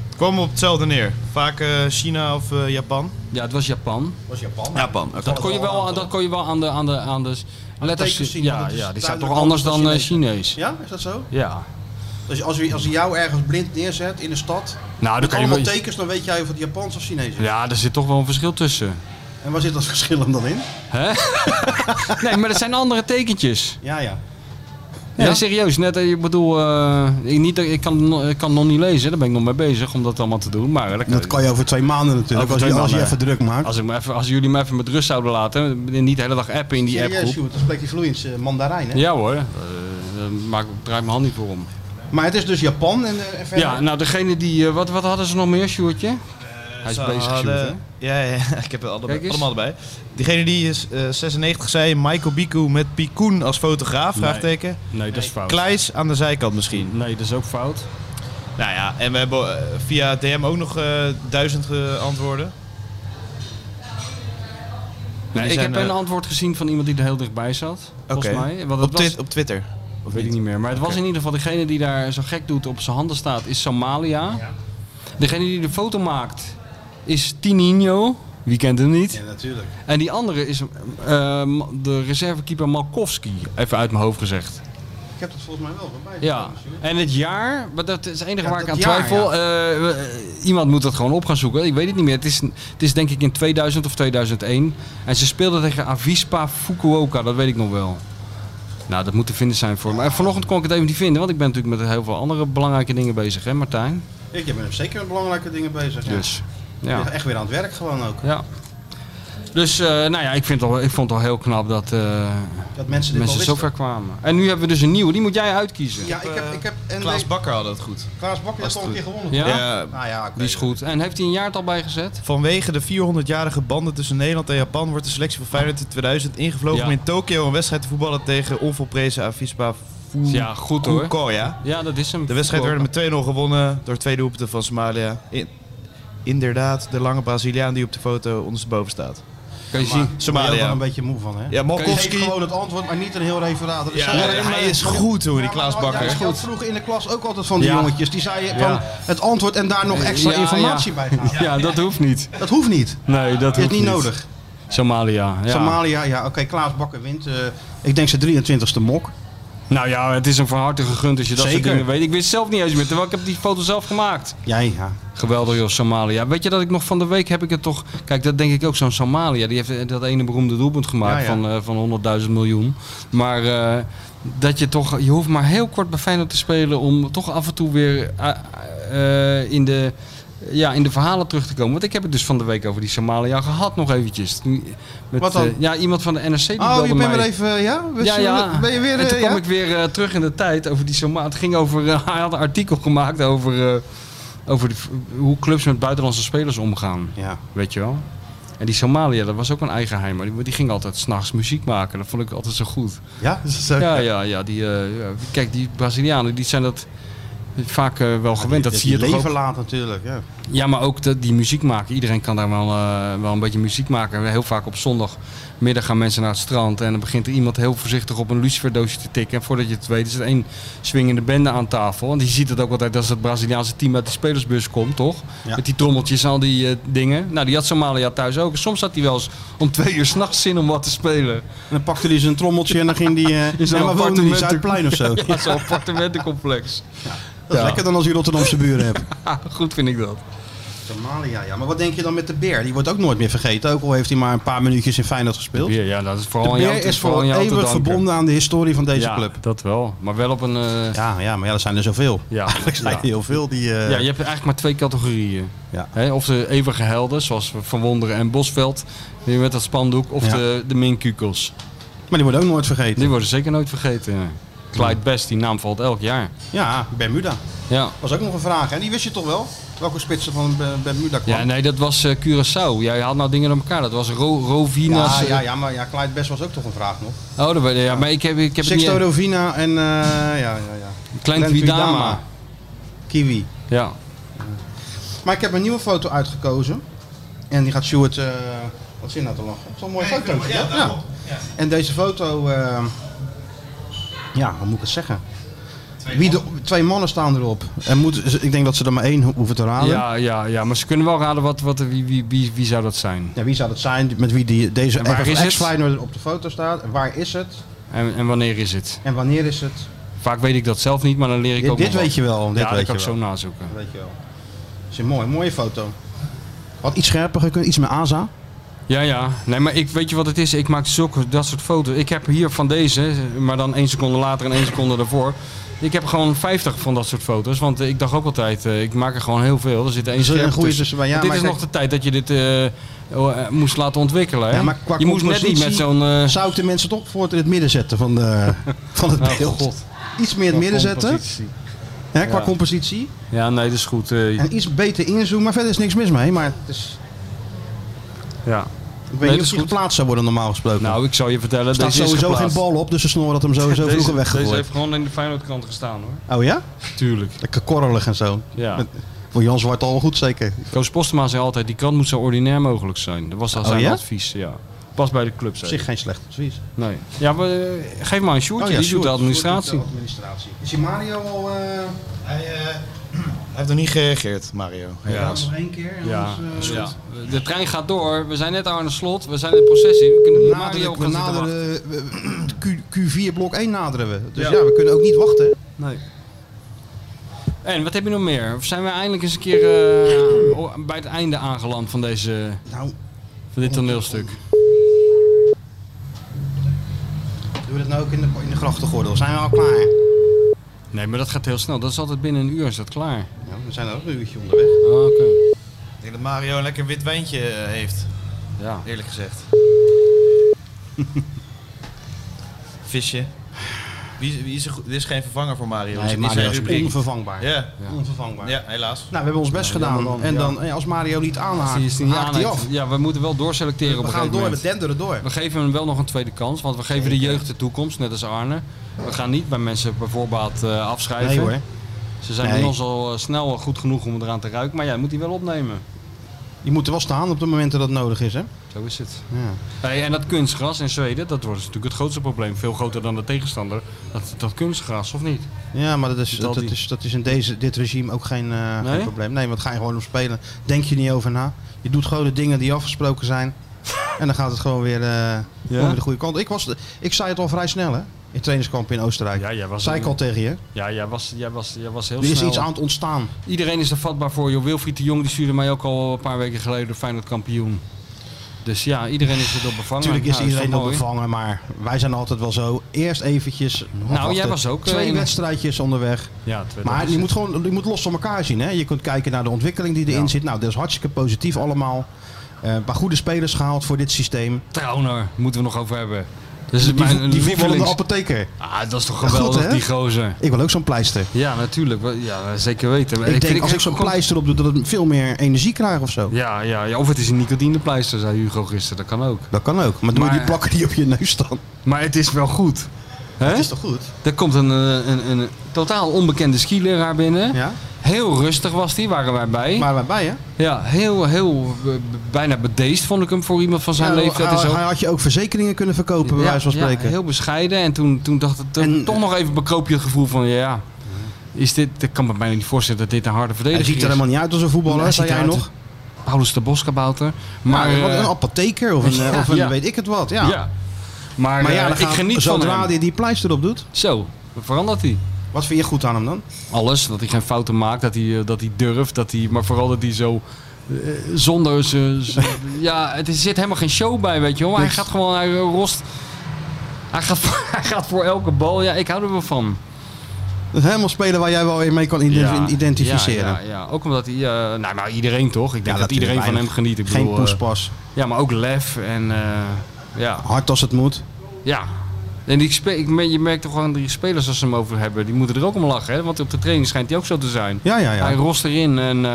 het kwam op hetzelfde neer. Vaak eh, China of eh, Japan. Ja, het was Japan. was Japan. Japan, oké. Dat kon je wel, aan- dat kon je wel aan de, aan de, aan de s- letters tekens zien, want Ja, het is ja, die staat toch duidelijk anders anders dan dan eh, Chinees. Nou, Ja, is dat zo? Ja. Dus als je, als hij jou ergens blind neerzet in de stad, dan met kan je allemaal wel- tekens, dan weet jij of het Japans of Chinees is. ja, er zit toch wel een verschil tussen. En waar zit dat verschil hem dan in? Hè? nee, maar dat zijn andere tekentjes. Ja, ja. Ja, serieus. Net, eh, ik bedoel, eh, ik, niet, ik, kan, ik kan nog niet lezen. Daar ben ik nog mee bezig om dat allemaal te doen. Maar, eh, dat kan- Dat kan je over twee maanden natuurlijk, Over als, twee je, als je maanden. even druk maakt. Als, ik me even, als jullie me even met rust zouden laten, en niet de hele dag appen in die Serieus, appgroep. Sjoerd, dan spreekt hij vloeiend eh, Mandarijn, hè? Ja hoor, Eh dan maak, draai mijn hand niet voor om. Maar het is dus Japan en, eh, en verder. Ja, nou degene die, eh, wat, wat hadden ze nog meer, Sjoerdje? Hij is Ze bezig, Sjoerd, hadden- hè? Ja, ja, ik heb het allemaal, Kijk eens. allemaal erbij. Diegene die is, eh, 96 zei, Michael Biku met Picoen als fotograaf, Nee. Oh. vraagteken. Nee, dat is fout. Kleis aan de zijkant misschien. Nee, dat is ook fout. Nou ja, en we hebben eh, via DM ook nog eh, duizend eh, antwoorden. Nee, Die ik zijn, heb een eh, antwoord gezien van iemand die er heel dichtbij zat, volgens Oké. mij. Want dat op, was- twi- op Twitter. Of weet ik niet meer. Maar het was in ieder geval degene die daar zo gek doet op zijn handen staat, is Somalia. Degene die de foto maakt is Tininho. Wie kent hem niet? Ja, natuurlijk. En die andere is eh, de reservekeeper Malkowski. Even uit mijn hoofd gezegd. Ik heb dat volgens mij wel voorbij. Ja, en het jaar, maar dat is het enige Ja, waar ik dat aan jaar, twijfel. Eh, eh, iemand moet dat gewoon op gaan zoeken. Ik weet het niet meer. Het is, het is denk ik in 2000 of 2001. En ze speelden tegen Avispa Fukuoka, dat weet ik nog wel. Nou, dat moet te vinden zijn voor me. En vanochtend kon ik het even niet vinden, want ik ben natuurlijk met heel veel andere belangrijke dingen bezig, hè Martijn? Ik ben zeker met belangrijke dingen bezig. ja. Dus, Je bent ja. Echt weer aan het werk gewoon ook. ja. Dus, eh, nou ja, ik, vind het al, ik vond het al heel knap dat, eh, Dat mensen dit mensen al zo wisten. ver kwamen. En nu hebben we dus een nieuwe, die moet jij uitkiezen. Ja, ik heb... Ik heb en Klaas nee, Bakker had het goed. Klaas Bakker heeft Was al een het keer gewonnen. Ja? Ja, Nou ja, oké. Die is goed. En heeft hij een jaartal bijgezet? Vanwege de 400-jarige banden tussen Nederland en Japan wordt de selectie van Feyenoord in 2000 ingevlogen Ja. om in Tokio een wedstrijd te voetballen tegen onvolprezen Avispa Ja, goed hoor. Fukuoka. Ja, dat is hem. De wedstrijd werd met 2-0 gewonnen door twee doelpunten van Somalia. In- inderdaad, de lange Braziliaan die op de foto ondersteboven staat. Kan je Maar zien. daar ben je ook wel Somalia. een beetje moe van, hè? Ja, Geef Malkowski. gewoon het antwoord, maar niet een heel referaat. Dat is Ja, zo- hij is goed hoor, die Klaas Ja, Bakker. ik had vroeger in de klas ook altijd van die Ja. jongetjes. Die zeiden van Ja. het antwoord en daar nog extra Ja, informatie ja. bij gaan. Ja, dat hoeft niet. Dat hoeft niet. Nee, dat Dat is hoeft niet nodig. Somalia. Ja. Somalia, ja, oké, Klaas Bakker wint. eh, ik denk zijn 23ste mok. Nou ja, het is een van harte gegund als je dat soort Zeker. dingen weet. Ik wist zelf niet eens meer, terwijl ik heb die foto zelf gemaakt. Ja, ja. Geweldig joh, Somalia. Weet je dat ik nog van de week heb ik het toch... Kijk, dat denk ik ook zo'n Somalia. Die heeft eh, dat ene beroemde doelpunt gemaakt Ja, ja. van, eh, van 100.000 miljoen. Maar eh, dat je toch... Je hoeft maar heel kort bij Feyenoord te spelen om toch af en toe weer eh, eh, in de... Ja, in de verhalen terug te komen. Want ik heb het dus van de week over die Somalia gehad nog eventjes. Met, Wat dan? eh, ja, iemand van de NRC die Oh, belde je mij. bent weer even, eh, ja? We Ja, zullen- ja. Ben je weer, en toen eh, kwam ja? ik weer eh, terug in de tijd over die Somalia. Het ging over... eh, hij had een artikel gemaakt over... eh, over die- hoe clubs met buitenlandse spelers omgaan. Weet je wel? En die Somalië, dat was ook een eigenheimer. Die, die ging altijd s'nachts muziek maken. Dat vond ik altijd zo goed. Ja? Ja, ja, ja, die, eh, ja. Kijk, die Brazilianen die zijn dat vaak eh, wel gewend. dat die, zie je toch leven ook- laat natuurlijk. Ja. ja, maar ook dat die muziek maken. Iedereen kan daar wel, eh, wel een beetje muziek maken. Heel vaak op zondagmiddag gaan mensen naar het strand. En dan begint er iemand heel voorzichtig op een luciferdoosje te tikken. En voordat je het weet is er één swingende bende aan tafel. En je ziet het ook altijd als het Braziliaanse team uit de spelersbus komt, toch? Ja. Met die trommeltjes en al die eh, dingen. Nou, die had Somalia thuis ook. En soms had hij wel eens om twee uur s'nachts zin om wat te spelen. En dan pakte hij zijn trommeltje en dan ging die, eh, in ja, zo'n waar woonde die? appartementen- Zuidplein of zo? Ja, zo'n appartementencomplex. Dat is lekker dan als je Rotterdamse buren hebt. Goed vind ik dat. Somalia, ja. Maar wat denk je dan met de beer? Die wordt ook nooit meer vergeten, ook al heeft hij maar een paar minuutjes in Feyenoord gespeeld. Ja, ja, dat is vooral de aan jou beer te- is vooral voor aan jou te eeuwig danken. verbonden aan de historie van deze Ja, club. dat wel. Maar wel op een... eh, Ja, ja, maar ja, er zijn er zoveel. Ja, Er zijn heel veel die... eh, Ja, je hebt eigenlijk maar twee categorieën. Ja. Hè, of de eeuwige helden, zoals Van Wonderen en Bosveld, die met dat spandoek, of Ja. de, de minkukels. Maar die worden ook nooit vergeten. Die worden zeker nooit vergeten. nee. Clyde Best, die naam valt elk jaar. Ja, Bermuda. Ja. Was ook nog een vraag, hè? Die wist je toch wel? Welke spitsen van Be- Bermuda kwam? Ja, nee, dat was eh, Curaçao. Jij haalt nou dingen door elkaar. Dat was Ro Rovinas. eh, ja, ja, ja, maar ja, Clyde Best was ook toch een vraag nog. Oh, dat, weet- ja, maar ik heb, ik heb Sixto het niet... e- Rovina en... eh, ja, ja, ja. Klein Glenn Twidama. Kiwi. Ja. Maar ik heb een nieuwe foto uitgekozen. En die gaat Stuart... eh, wat zin nou te lachen? Zo'n mooie foto. ja, daarom. Ja. En deze foto... eh, ja, hoe moet ik het zeggen? Wie de, twee mannen staan erop. En moet, ik denk dat ze er maar één ho- hoeven te raden. Ja, ja, ja, maar ze kunnen wel raden wat, wat, wie, wie, wie, wie zou dat zijn. Ja, wie zou dat zijn? Met wie die, deze En waar is het? ex-Feyenoord op de foto staat. En waar is het? En, en wanneer is het? En wanneer is het? Vaak weet ik dat zelf niet, maar dan leer ik Dit- ook dit nog wat. weet je wel, dit ja, dat weet kan je ik wel. zo nazoeken. Dat weet je wel. is een mooi, mooie foto. Had iets scherper gekund, iets met Aza. Ja, ja. Nee, maar ik, weet je wat het is? Ik maak zulke, dat soort foto's. Ik heb hier van deze, maar dan één seconde later en één seconde daarvoor. Ik heb gewoon 50 van dat soort foto's. Want eh, ik dacht ook altijd, eh, ik maak er gewoon heel veel. Er zit één Er zit een scherp goede tussen, tussen. maar ja, Want dit maar is kijk- nog de tijd dat je dit eh, oh, eh, moest laten ontwikkelen. Hè? Ja, maar qua je moest net niet met compositie zo'n... eh, Zou ik de mensen toch voor het in het midden zetten van, de, van het Oh, beeld? God. Iets meer in het Qua midden zetten. compositie. Hè, qua Ja. compositie. Ja, nee, dat is goed. eh, En iets beter inzoomen. Maar verder is niks mis mee. Maar het is, ja. ik weet niet Nee, dat of is die goed. geplaatst zou worden normaal gesproken. Nou, ik zal je vertellen, Er staat deze is sowieso geen geplaatst. bal op, dus ze snor had hem sowieso Deze- vroeger Deze weggegooid. heeft gewoon in de Feyenoordkrant gestaan hoor. Oh ja? Tuurlijk. Lekker korrelig en zo. Ja. Met- voor Jan Zwart al goed zeker. Koos Postema zei altijd, die krant moet zo ordinair mogelijk zijn. Dat was al Oh, zijn ja? advies, ja. Pas bij de club, Op zei zich hij. geen slecht advies. Nee. Ja, maar, eh, geef maar een shortje, Oh ja, die Sjoerd. doet de administratie. Sjoerd doet de administratie. Is die Mario al... eh, Hij, eh, hij heeft nog niet gereageerd, Mario. Helaas. nog één keer. en Ja, anders, eh, ja. De trein gaat door. We zijn net aan de slot. We zijn in de processie. We kunnen niet Mario naderen, op we gaan zitten naderen we- Q, Q4 blok 1 naderen we. Dus ja. Ja. we kunnen ook niet wachten. Nee. wachten. En wat heb je nog meer? Of zijn we eindelijk eens een keer eh, o- bij het einde aangeland van, deze, Nou, van dit toneelstuk? doen we dat nou ook in de, in de grachtengordel? Zijn we al klaar? Nee, maar dat gaat heel snel. Dat is altijd binnen een uur is dat klaar. Ja, we zijn er ook een uurtje onderweg. Ah, Oké. Ik denk dat Mario een lekker wit wijntje eh, heeft. Ja. Eerlijk gezegd. Visje. Wie, wie is er, goed- dit is geen vervanger voor Mario. Nee, Er zit niet Mario zijn Dus is rubriek. onvervangbaar. Ja. Onvervangbaar. Ja, helaas. Nou, we hebben ons best Ja, gedaan. jammer dan, en ja. dan, eh, als Mario niet aanhaakt, Die is die niet haakt hij aan- af. Ja, we moeten wel doorselecteren op We een gaan gegeven door, moment. we denderen door. We geven hem wel nog een tweede kans, want we geven de jeugd de toekomst, net als Arne. We gaan niet bij mensen bijvoorbeeld eh, afschrijven. Nee hoor. Ze zijn Nee. bij ons al eh, snel goed genoeg om eraan te ruiken, maar jij moet die wel opnemen. Die moeten wel staan op de momenten dat het nodig is, hè? Zo is het. Ja. Hey, en dat kunstgras in Zweden, dat wordt natuurlijk het grootste probleem. Veel groter dan de tegenstander. Dat, dat kunstgras, of niet? Ja, maar dat is, al dat, die- is, dat is in deze, dit regime ook geen, eh, geen Nee? probleem. Nee, want ga je gewoon op spelen. Denk je niet over na. Je doet gewoon de dingen die afgesproken zijn. en dan gaat het gewoon weer, eh, gewoon weer de goede kant. Ik, was, de- ik zei het al vrij snel, hè? In trainingskamp in Oostenrijk. Ja, jij was zei ik al tegen je. Ja, jij was, jij was, jij was heel Er is snel. iets aan het ontstaan. Iedereen is er vatbaar voor. Joh. Wilfried de Jong die stuurde mij ook al een paar weken geleden Feyenoord kampioen. Dus ja, iedereen is er door bevangen. Natuurlijk is Nou, toch iedereen al mooi? bevangen, maar wij zijn altijd wel zo. Eerst eventjes. afwachten. jij was ook, eh, Twee in- wedstrijdjes onderweg. Ja, twee- dat Maar is je het. moet, gewoon, je moet los van elkaar zien. Hè? Je kunt kijken naar de ontwikkeling die erin zit. Nou, dat is hartstikke positief allemaal. Eh, Een paar goede spelers gehaald voor dit systeem. Trauner moeten we nog over hebben. Dat is die, Dus mijn die, die lievelings- voetballende apotheker. Ah, dat is toch Goed, geweldig, hè? die gozer. Ik wil ook zo'n pleister. Ja, natuurlijk. Wel- Ja, zeker weten. Maar ik denk, vind- als ik zo'n pleister op doe, dat het veel meer energie krijgt of zo. Ja, ja, ja, of het is een nicotinepleister, zei Hugo gisteren. Dat kan ook. Dat kan ook. Maar, doe je Maar- die plakken die op je neus staan. Maar het is wel goed. Het is toch goed? Er komt een, eh, een, een, totaal onbekende skileraar binnen. Heel rustig was die, waren wij bij. Waren wij bij, hè? Ja, heel, heel eh, b- bijna bedeesd vond ik hem voor iemand van zijn Ja, leeftijd. hij- en zo. hij had je ook verzekeringen kunnen verkopen, bij Ja, wijze van ja, spreken. heel bescheiden. En toen, toen dacht ik toen toch nog even bekroop je het gevoel van ja, is dit, ik kan me bijna niet voorstellen dat dit een harde verdediger Hij is. ziet er helemaal niet uit als een voetballer, Nee, hij zei ziet jij eruit- nog. Paulus de Boskabouter. Maar, Maar, eh, een apotheker of een, ja, of een ja. weet ik het wat. Ja. Ja. Maar, eh, dan ik gaat- geniet van Zodra hem. hij die pleister op doet. Zo, verandert hij. Wat vind je goed aan hem dan? Alles, dat hij geen fouten maakt, dat hij, eh, dat hij durft, dat hij, maar vooral dat hij zo eh, zonder zijn... zijn- ja, het is- er zit helemaal geen show bij, weet je wel. Hij Niks. gaat gewoon, hij rost... Hij gaat, voor- hij gaat voor elke bal. Ja, ik hou er wel van. Dat is helemaal spelen waar jij wel in mee kan ident- Ja, identificeren. Ja, ja, ja. ook omdat hij... eh, nou, maar iedereen toch? Ik denk dat natuurlijk, iedereen van hem weinig. geniet. Ik Geen bedoel, eh, poespas. ja, maar ook lef en... eh, ja. Hard als het moet. Ja. En die spe- ik me- je merkt toch gewoon die spelers als ze hem over hebben, die moeten er ook om lachen. Hè? Want op de training schijnt hij ook zo te zijn. Ja, ja, ja. Hij rost erin en eh,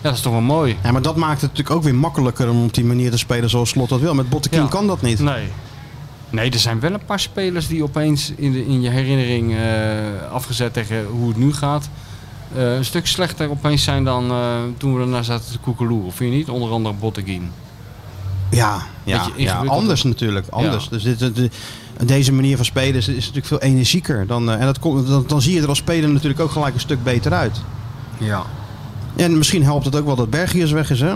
ja, dat is toch wel mooi. Ja, maar dat maakt het natuurlijk ook weer makkelijker om op die manier te spelen zoals Slot dat wil. Met Bottekin Ja. kan dat niet. Nee. Nee, er zijn wel een paar spelers die opeens in, de, in je herinnering, eh, afgezet tegen hoe het nu gaat, eh, een stuk slechter opeens zijn dan eh, toen we ernaar zaten te koekeloeren. Vind je niet? Onder andere Botteguin. Ja, ja, Beetje ja, ingewikkeld. anders natuurlijk. Anders. Ja. Dus dit, dit- dit- deze manier van spelen is, is natuurlijk veel energieker. Dan, eh, en dat komt, dan, dan zie je er als speler natuurlijk ook gelijk een stuk beter uit. Ja. En misschien helpt het ook wel dat Bergius weg is. Hè?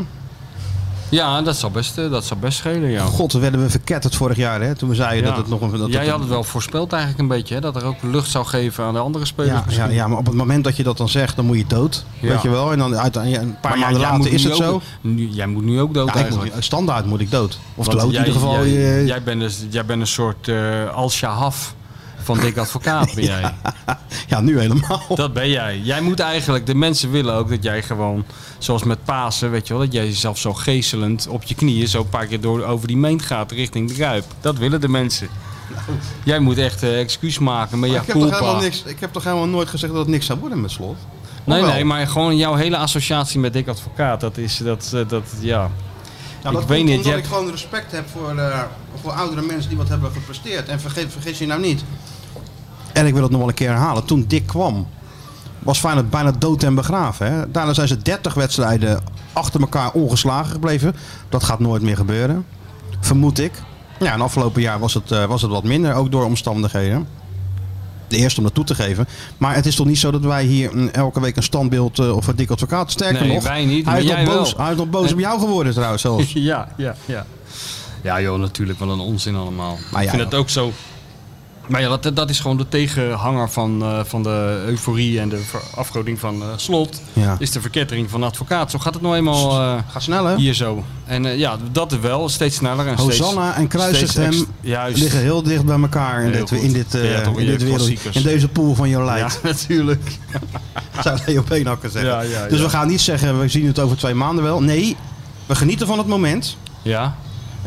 Ja, dat zou best, eh, dat zou best schelen, ja. God, werden we verketterd vorig jaar. Hè? Toen we zeiden Ja. dat het nog een... Dat Jij het- had het wel voorspeld eigenlijk een beetje, hè? dat er ook lucht zou geven aan de andere spelers. ja, ja, misschien. ja, maar op het moment dat je dat dan zegt, dan moet je dood. Ja. Weet je wel? En dan uiteindelijk, een paar Maar ja, maanden jij later moet is nu het ook- zo. nu- jij moet nu ook dood Ja, ik moet- eigenlijk. standaard moet ik dood. Of Want dood in jij- ieder geval. eh. Jij, je- jij, bent, dus, jij bent een soort eh Al-Shahaf van Dick Advocaat ben jij. ja, nu helemaal. Dat ben jij. Jij moet eigenlijk, de mensen willen ook dat jij gewoon, zoals met Pasen, weet je wel, dat jij jezelf zo geeselend op je knieën zo een paar keer door, over die meent gaat richting de Kuip. Dat willen de mensen. Jij moet echt eh, excuus maken met Maar ik, jouw heb toch culpa. helemaal niks, ik heb toch helemaal nooit gezegd dat het niks zou worden met slot? Nee, Of wel? nee, maar gewoon jouw hele associatie met Dick Advocaat, dat is, dat, eh, dat ja. Ja, Nou, dat ik weet komt niet, omdat je ik hebt- gewoon respect heb voor, eh, voor oudere mensen die wat hebben gepresteerd. En vergeet, vergis je nou niet. En ik wil het nog wel een keer herhalen. Toen Dick kwam, was Feyenoord bijna dood en begraven. Hè? Daarna zijn ze 30 wedstrijden achter elkaar ongeslagen gebleven. Dat gaat nooit meer gebeuren. Vermoed ik. Ja, en afgelopen jaar was het, eh, was het wat minder, ook door omstandigheden. De eerste om dat toe te geven. Maar het is toch niet zo dat wij hier mm, elke week een standbeeld eh, of een dik advocaat. Sterker Nee, nog, wij niet, hij, is maar nog jij boos, wel. hij is nog boos op jou geworden trouwens zelfs. ja, ja, ja. Ja, joh, natuurlijk wel een onzin allemaal. Maar ik ja, vind het ook zo. Maar ja, dat, dat is gewoon de tegenhanger van, eh, van de euforie en de ver- afgoding van eh, slot. Ja. Is de verkettering van advocaat. Zo gaat het nou eenmaal. eh, Ga snel hè? Hier zo. En eh, ja, dat wel. Steeds sneller en steeds... Hosanna en kruisigt steeds hem ex- Juist. liggen heel dicht bij elkaar in, Heel dit, goed. in, dit, eh, Ja, toch in, weer dit wereld, klassiekers. in deze pool van jouw lijf. Ja, natuurlijk. Zou Leo Beenhakker zeggen. Ja, ja, Dus ja. we gaan niet zeggen, we zien het over twee maanden wel. Nee, we genieten van het moment. Ja.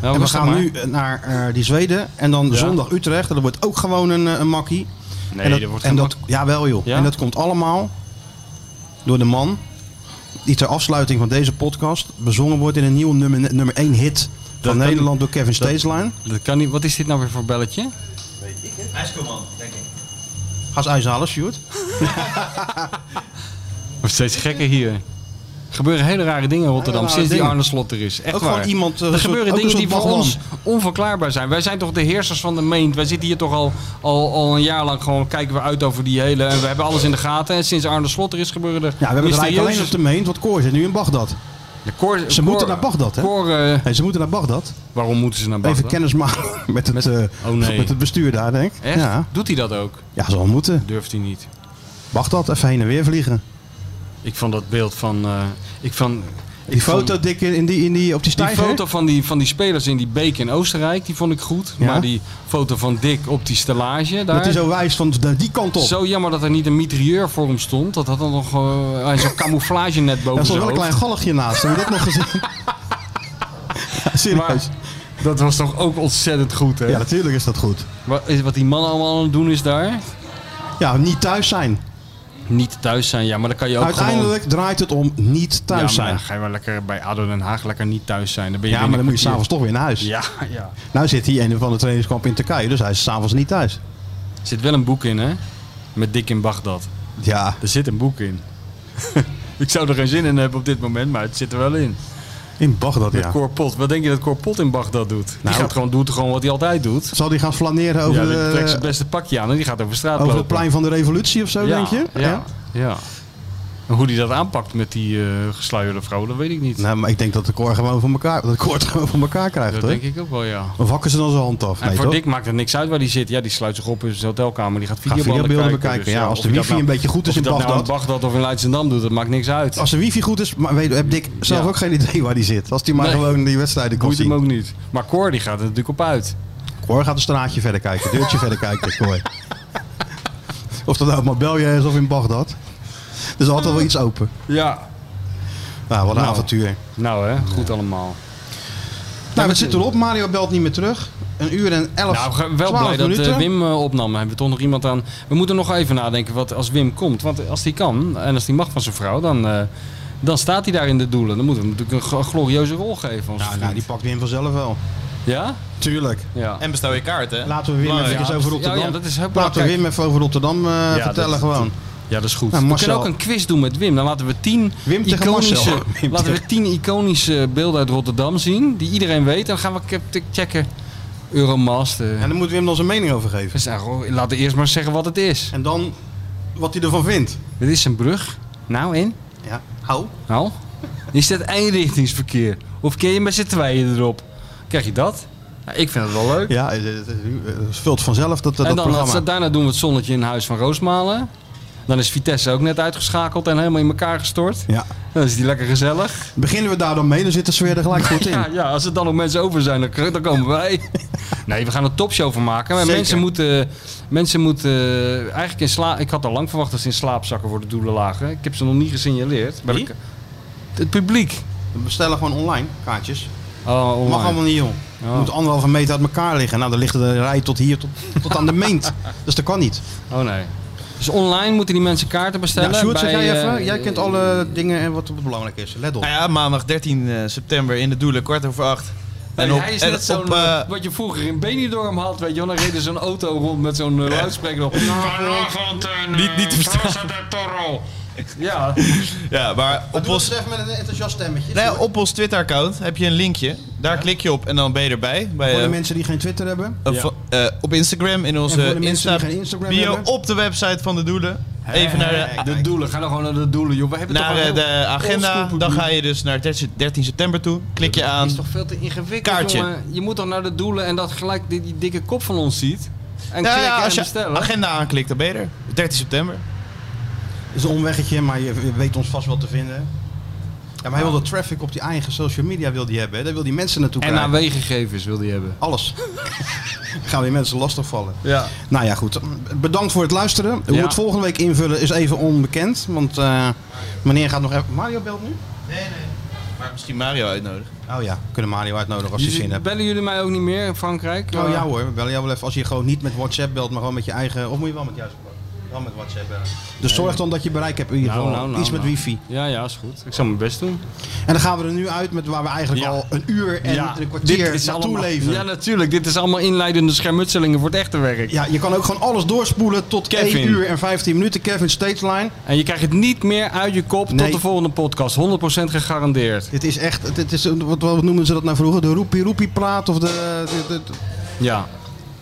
Nou, en we rustig gaan maar. nu eh, naar eh, die Zweden. En dan Ja. zondag Utrecht. En dat wordt ook gewoon een, eh, een makkie. Nee, en dat, dat wordt en geen dat, Jawel joh. Ja? En dat komt allemaal door de man die ter afsluiting van deze podcast bezongen wordt in een nieuwe nummer, nummer 1 hit van kan- Nederland door Kevin Steesline. Dat kan niet. Wat is dit nou weer voor belletje? IJsselman, denk ik. Ga eens uithalen, Stuart. Wordt steeds gekker hier. Er gebeuren hele rare dingen in Rotterdam Hele rare sinds die dingen. Arne Slot er is. Echt Ook waar. gewoon iemand, eh, er een gebeuren soort- ook dingen een die soort voor ons Baggeland. onverklaarbaar zijn. Wij zijn toch de heersers van de meent. Wij zitten hier toch al, al, al een jaar lang gewoon kijken we uit over die hele... En we hebben alles in de gaten. En sinds Arne Slot er is gebeuren er Ja, we hebben het eigenlijk alleen op de meent, want Koor zit nu in Bagdad. De koor- Ze koor- moeten naar Bagdad, hè? koor, eh, Nee, ze moeten naar Bagdad. waarom moeten ze naar Bagdad? Even kennis maken met het, eh, Oh, nee. met het bestuur daar, denk ik. Echt? Ja. Doet hij dat ook? ja, zal moeten. Durft hij niet. Bagdad, even heen en weer vliegen. Ik vond dat beeld van... eh, ik van Die foto dik in in die, in die, op die Die stijger. foto van die, van die spelers in die beek in Oostenrijk, die vond ik goed. Ja? Maar die foto van Dick op die stellage daar. Dat hij zo wijst van de- die kant op. Zo jammer dat er niet een mitrieur voor hem stond. Dat had dan nog eh, hij zo'n camouflage net er boven stond zijn wel een hoofd. klein galligje naast. Heb je dat nog gezien? Ja, Serieus. Maar Dat was toch ook ontzettend goed, hè? Ja, natuurlijk is dat goed. Wat, is- wat die mannen allemaal aan het doen is daar? Ja, niet thuis zijn. Niet thuis zijn, ja, maar dan kan je ook Uiteindelijk draait het om niet gewoon... thuis ja, maar zijn. dan ga je wel lekker bij ADO Den Haag lekker niet thuis zijn. Dan ben je Ja, binnen maar dan moet je een s'avonds kwartier- toch weer naar huis. Ja, ja. Nou zit hij een van de trainingskamp in Turkije, dus hij is s'avonds niet thuis. Er zit wel een boek in, hè? Met Dick in Bagdad. Ja. Er zit een boek in. Ik zou er geen zin in hebben op dit moment, maar het zit er wel in. In Bagdad, Met ja. Corpot. Wat denk je dat Corpot in Bagdad doet? Die Nou. gaat gewoon, doet gewoon wat hij altijd doet. Zal die gaan flaneren over, ja, die de- trekt zijn beste pakje aan en die gaat over straat over het lopen. plein van de revolutie of zo, Ja, denk je? Ja, ja. En hoe die dat aanpakt met die eh gesluierde vrouw, dat weet ik niet. Nou, maar ik denk dat de koor gewoon van elkaar, dat koor het gewoon van elkaar krijgt, dat hoor. denk ik ook wel, ja. Of hakken ze dan zijn hand af? En Nee, voor toch? Dick maakt het niks uit waar hij zit. Ja, die sluit zich op in zijn hotelkamer. Die gaat videobeelden, videobeelden kijken. dus, bekijken. Ja, als of de hij wifi dat een beetje goed is of in hij dat nou Bagdad. in Bagdad of in Leidschendam doet, dat maakt niks uit. Als de wifi goed is, maar weet, heb Dick zelf Ja. ook geen idee waar die zit. Als die maar Nee. gewoon die wedstrijden kon Boeit hem zien. ook niet. Maar Cor die gaat er natuurlijk op uit. Cor gaat een straatje verder kijken, een deurtje verder kijken, Cor. Of dat nou op Marbella is of in Bagdad. Er is altijd wel iets open. Ja. Nou, wat een Nou. avontuur. Nou hè, goed allemaal. Nou, het zit erop. Mario belt niet meer terug. Een uur en elf, Nou, we- wel blij twaalf dat eh, minuten. Wim eh, opnam. Hebben we toch nog iemand aan. We moeten nog even nadenken wat als Wim komt. Want als hij kan en als hij mag van zijn vrouw, dan, eh, dan staat hij daar in de doelen. Dan moeten we hem natuurlijk een gl- glorieuze rol geven. Onze nou, vriend. nou, die pakt Wim vanzelf wel. Ja? Tuurlijk. Ja. En bestel je kaart, hè? Nou Laten we Wim even Belangrijk. iets over Rotterdam. Nou ja, dat is heel Laten we belangrijk. Wim even over Rotterdam eh, Ja, vertellen dat- gewoon. Ja, dat is goed. Nou, we Marcel- kunnen ook een quiz doen met Wim. Dan laten we tien, Wim tegen iconische, Marcel. Wim laten we tegen- tien iconische beelden uit Rotterdam zien. Die iedereen weet. Dan gaan we ke- checken. Euromaster. En dan moet Wim dan zijn mening over geven. Dus, nou, laten we eerst maar zeggen wat het is. En dan wat hij ervan vindt. Het is een brug. Nou, in? Ja, hou. Nou? Is dat eenrichtingsverkeer? Of kun je met z'n tweeën erop? Krijg je dat? Ja, ik vind het wel leuk. Ja, eh, het, het- het vult vanzelf dat, eh, dat en dan programma. dat- daarna doen we het zonnetje in huis van Roosmalen. Dan is Vitesse ook net uitgeschakeld en helemaal in elkaar gestort. Ja. Dan is die lekker gezellig. Beginnen we daar dan mee, dan zit de sfeer er gelijk goed in. Ja, ja, als er dan nog mensen over zijn, dan, k- dan komen wij. Nee, we gaan een topshow van maken. Maar Zeker. mensen moeten, mensen moeten eigenlijk in slaap... Ik had al lang verwacht dat ze in slaapzakken worden doelen lagen. Ik heb ze nog niet gesignaleerd. Maar Wie? ik- Het publiek. We bestellen gewoon online kaartjes. Oh, online. Mag allemaal niet, joh. Oh. Moet anderhalve meter uit elkaar liggen. Nou, dan ligt de rij tot hier, tot, tot aan de meent. Dus dat kan niet. Oh nee. Dus online moeten die mensen kaarten Ja, bestellen. Sjoerd, bij, zeg jij even. eh, jij kent alle dingen en wat belangrijk is. Let op. Nou ja, maandag 13 eh, september in de Doelen, kwart over acht. Nee, op, hij is en net zo'n, op, eh, eh, wat je vroeger in Benidorm had, weet je wel. Dan reden zo'n auto rond met zo'n eh, luidspreker op. Vanavond Niet- niet te verstaan. Plaza Toro. Ja. ja, maar op ons, even met een enthousiast stemmetje. nou ja, op ons Twitter-account heb je een linkje. Daar klik je op en dan ben je erbij. Bij, Voor de eh, mensen die geen Twitter hebben. eh, vo- eh, op En Instagram, in voor de onze mensen Insta die geen Instagram bio, hebben? op de website van de Doelen. Even naar de, De doelen, ga dan gewoon naar de doelen, joh. We hebben naar toch eh, al heel de oldschool agenda. publiek. Dan ga je dus naar 13 13 september toe. Klik je Dat aan. is toch veel te ingewikkeld, Kaartje. jongen. Je moet toch naar de doelen en dat gelijk die, die dikke kop van ons ziet. En Nou klikken ja, als en je bestellen. agenda aanklikt, dan ben je er. 13 september. Het is een omweggetje, maar je je weet ons vast wel te vinden. Ja, maar hij wil de traffic op die eigen social media wil die hebben. hè. Daar wil die mensen naartoe En krijgen. AW-gegevens wil die hebben. Alles. Gaan die mensen lastigvallen. Ja. Nou nou ja, goed. Bedankt voor het luisteren. Hoe Ja. we het volgende week invullen is even onbekend. Want eh meneer gaat nog even... Mario belt nu? Maar misschien Mario uitnodigen. Oh ja, we kunnen Mario uitnodigen als hij Jullie- zin hebt. Bellen jullie mij ook niet meer in Frankrijk? Eh, Oh Maar- ja hoor, we bellen jou wel even. Als je gewoon niet met WhatsApp belt, maar gewoon met je eigen... Of moet je wel met juist wel met WhatsApp bellen. Dus zorg dan dat je bereik hebt in ieder geval. Nou, nou, nou, Iets met nou. wifi. Ja, ja, is goed. Ik zal mijn best doen. En dan gaan we er nu uit met waar we eigenlijk Ja. al een uur en een kwartier naartoe allemaal, leven. Ja, natuurlijk. Dit is allemaal inleidende schermutselingen voor het echte werk. Ja, je kan ook gewoon alles doorspoelen tot Kevin. 1 uur en 15 minuten. Kevin Stateline. En je krijgt het niet meer uit je kop Nee. tot de volgende podcast. 100% gegarandeerd. Dit is echt, dit is, een- wat, wat noemden ze dat nou vroeger? De roepie roepie praat of de, de, de- Ja.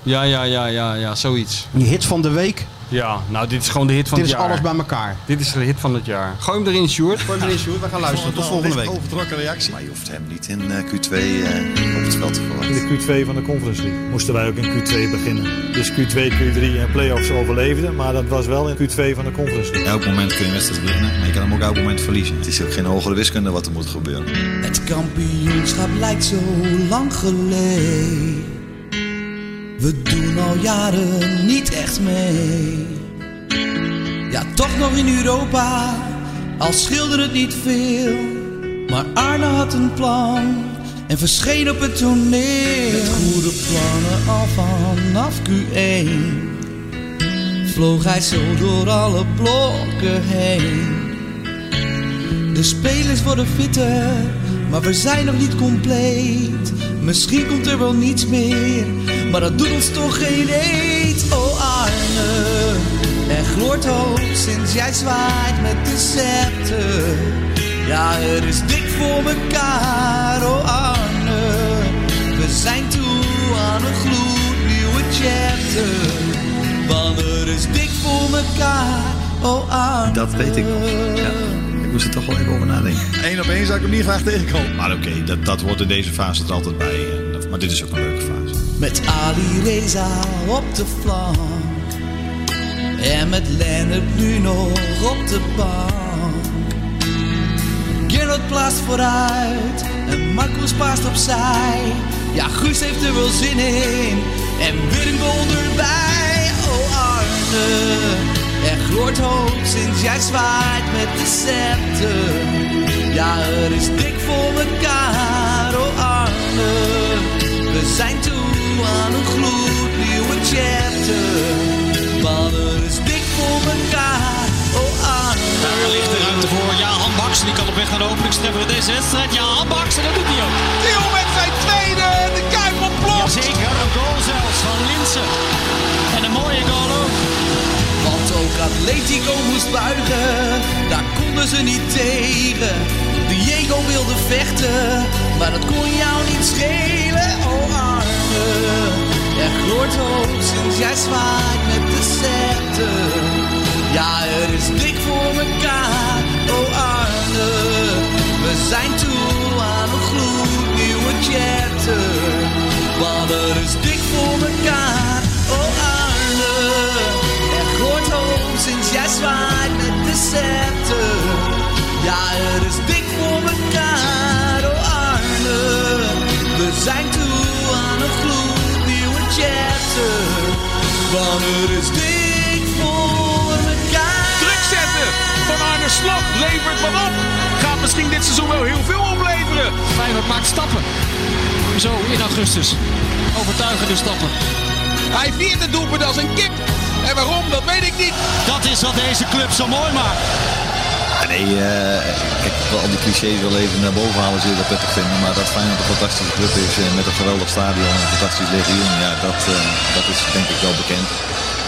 Ja, ja, ja, ja, ja, zoiets. die hit van de week. Ja, nou, dit is gewoon de hit van dit is het jaar. alles bij elkaar. Dit is de hit van het jaar. Gooi hem erin, Sjoerd. Voor meneer Sjoerd, we gaan luisteren. Tot volgende week. Overtrokken reactie. Maar je hoeft hem niet in eh, Q2 eh, op het veld te In verwachten. de Q2 van de Conference League moesten wij ook in Q2 beginnen. Dus Q2, Q3 en play-offs overleefden. Maar dat was wel in Q2 van de Conference League. Elk moment kun je wedstrijd winnen, maar je kan hem ook elk moment verliezen. Het is ook geen hogere wiskunde wat er moet gebeuren. Het kampioenschap lijkt zo lang geleden. We doen al jaren niet echt mee. Ja, toch nog in Europa, al schilderde het niet veel. Maar Arne had een plan en verscheen op het toneel. Met goede plannen al vanaf Q1 vloog hij zo door alle blokken heen. De spelers worden fitter, maar we zijn nog niet compleet. Misschien komt er wel niets meer, maar dat doet ons toch geen eet. Oh Arne, er gloort hoop sinds jij zwaait met de scepter. Ja, er is dik voor mekaar, oh Arne. We zijn toe aan een gloednieuwe chapter. Want er is dik voor mekaar, oh Arne. Dat weet ik nog. Ja. Ik moest er toch wel even over nadenken. Eén op één zou ik hem niet graag tegenkomen. Maar oké, dat, dat hoort in deze fase er altijd bij. En dat- Maar dit is ook een leuke fase. Met Ali Reza op de flank. En met Lennart nu nog op de bank. Gerard plaatst vooruit. En Marcus paast opzij. Ja, Guus heeft er wel zin in. En Birngold erbij. Oh Arne, er gloort hoop sinds jij zwaait met de scepter. Ja, er is dik voor elkaar. Oh Arne. We zijn toe aan een gloednieuwe chapter. Want er is dik voor elkaar, oh Arne. Daar ligt de ruimte voor Jahan Baks. Die kan op weg naar de openingstreffer in deze wedstrijd. Jahan Baks, en dat doet hij ook. Theo met zijn tweede. De Kuip ontploft. Zeker, een goal zelfs van Linsen. En een mooie goal ook. Want ook Atletico moest buigen, daar konden ze niet tegen. Diego wilde vechten, maar dat kon jou niet schelen, oh Arne. Er gloort hoop sinds jij zwaait met de scepter. Ja, er is dik voor elkaar, oh Arne. We zijn toe aan een gloednieuwe chapter. Want er is dik voor elkaar, oh Arne. Er gloort hoop sinds jij zwaait met de scepter. Ja, het is dik voor elkaar, oh Arne. We zijn toe aan een gloednieuwe chapter. Want het is dik voor elkaar. Druk zetten van Arne Slot. Levert wat op. Gaat misschien dit seizoen wel heel veel opleveren. Feyenoord maakt stappen. Zo in augustus. Overtuigende stappen. Hij viert het doelpunt als een kip. En waarom, dat weet ik niet. Dat is wat deze club zo mooi maakt. Ja, nee, eh, kijk, ik wil al die clichés wel even naar boven halen, zul je dat prettig vinden. Maar dat Feyenoord een fantastische club is eh, met een geweldig stadion en een fantastisch legioen, ja, dat, eh, dat is denk ik wel bekend.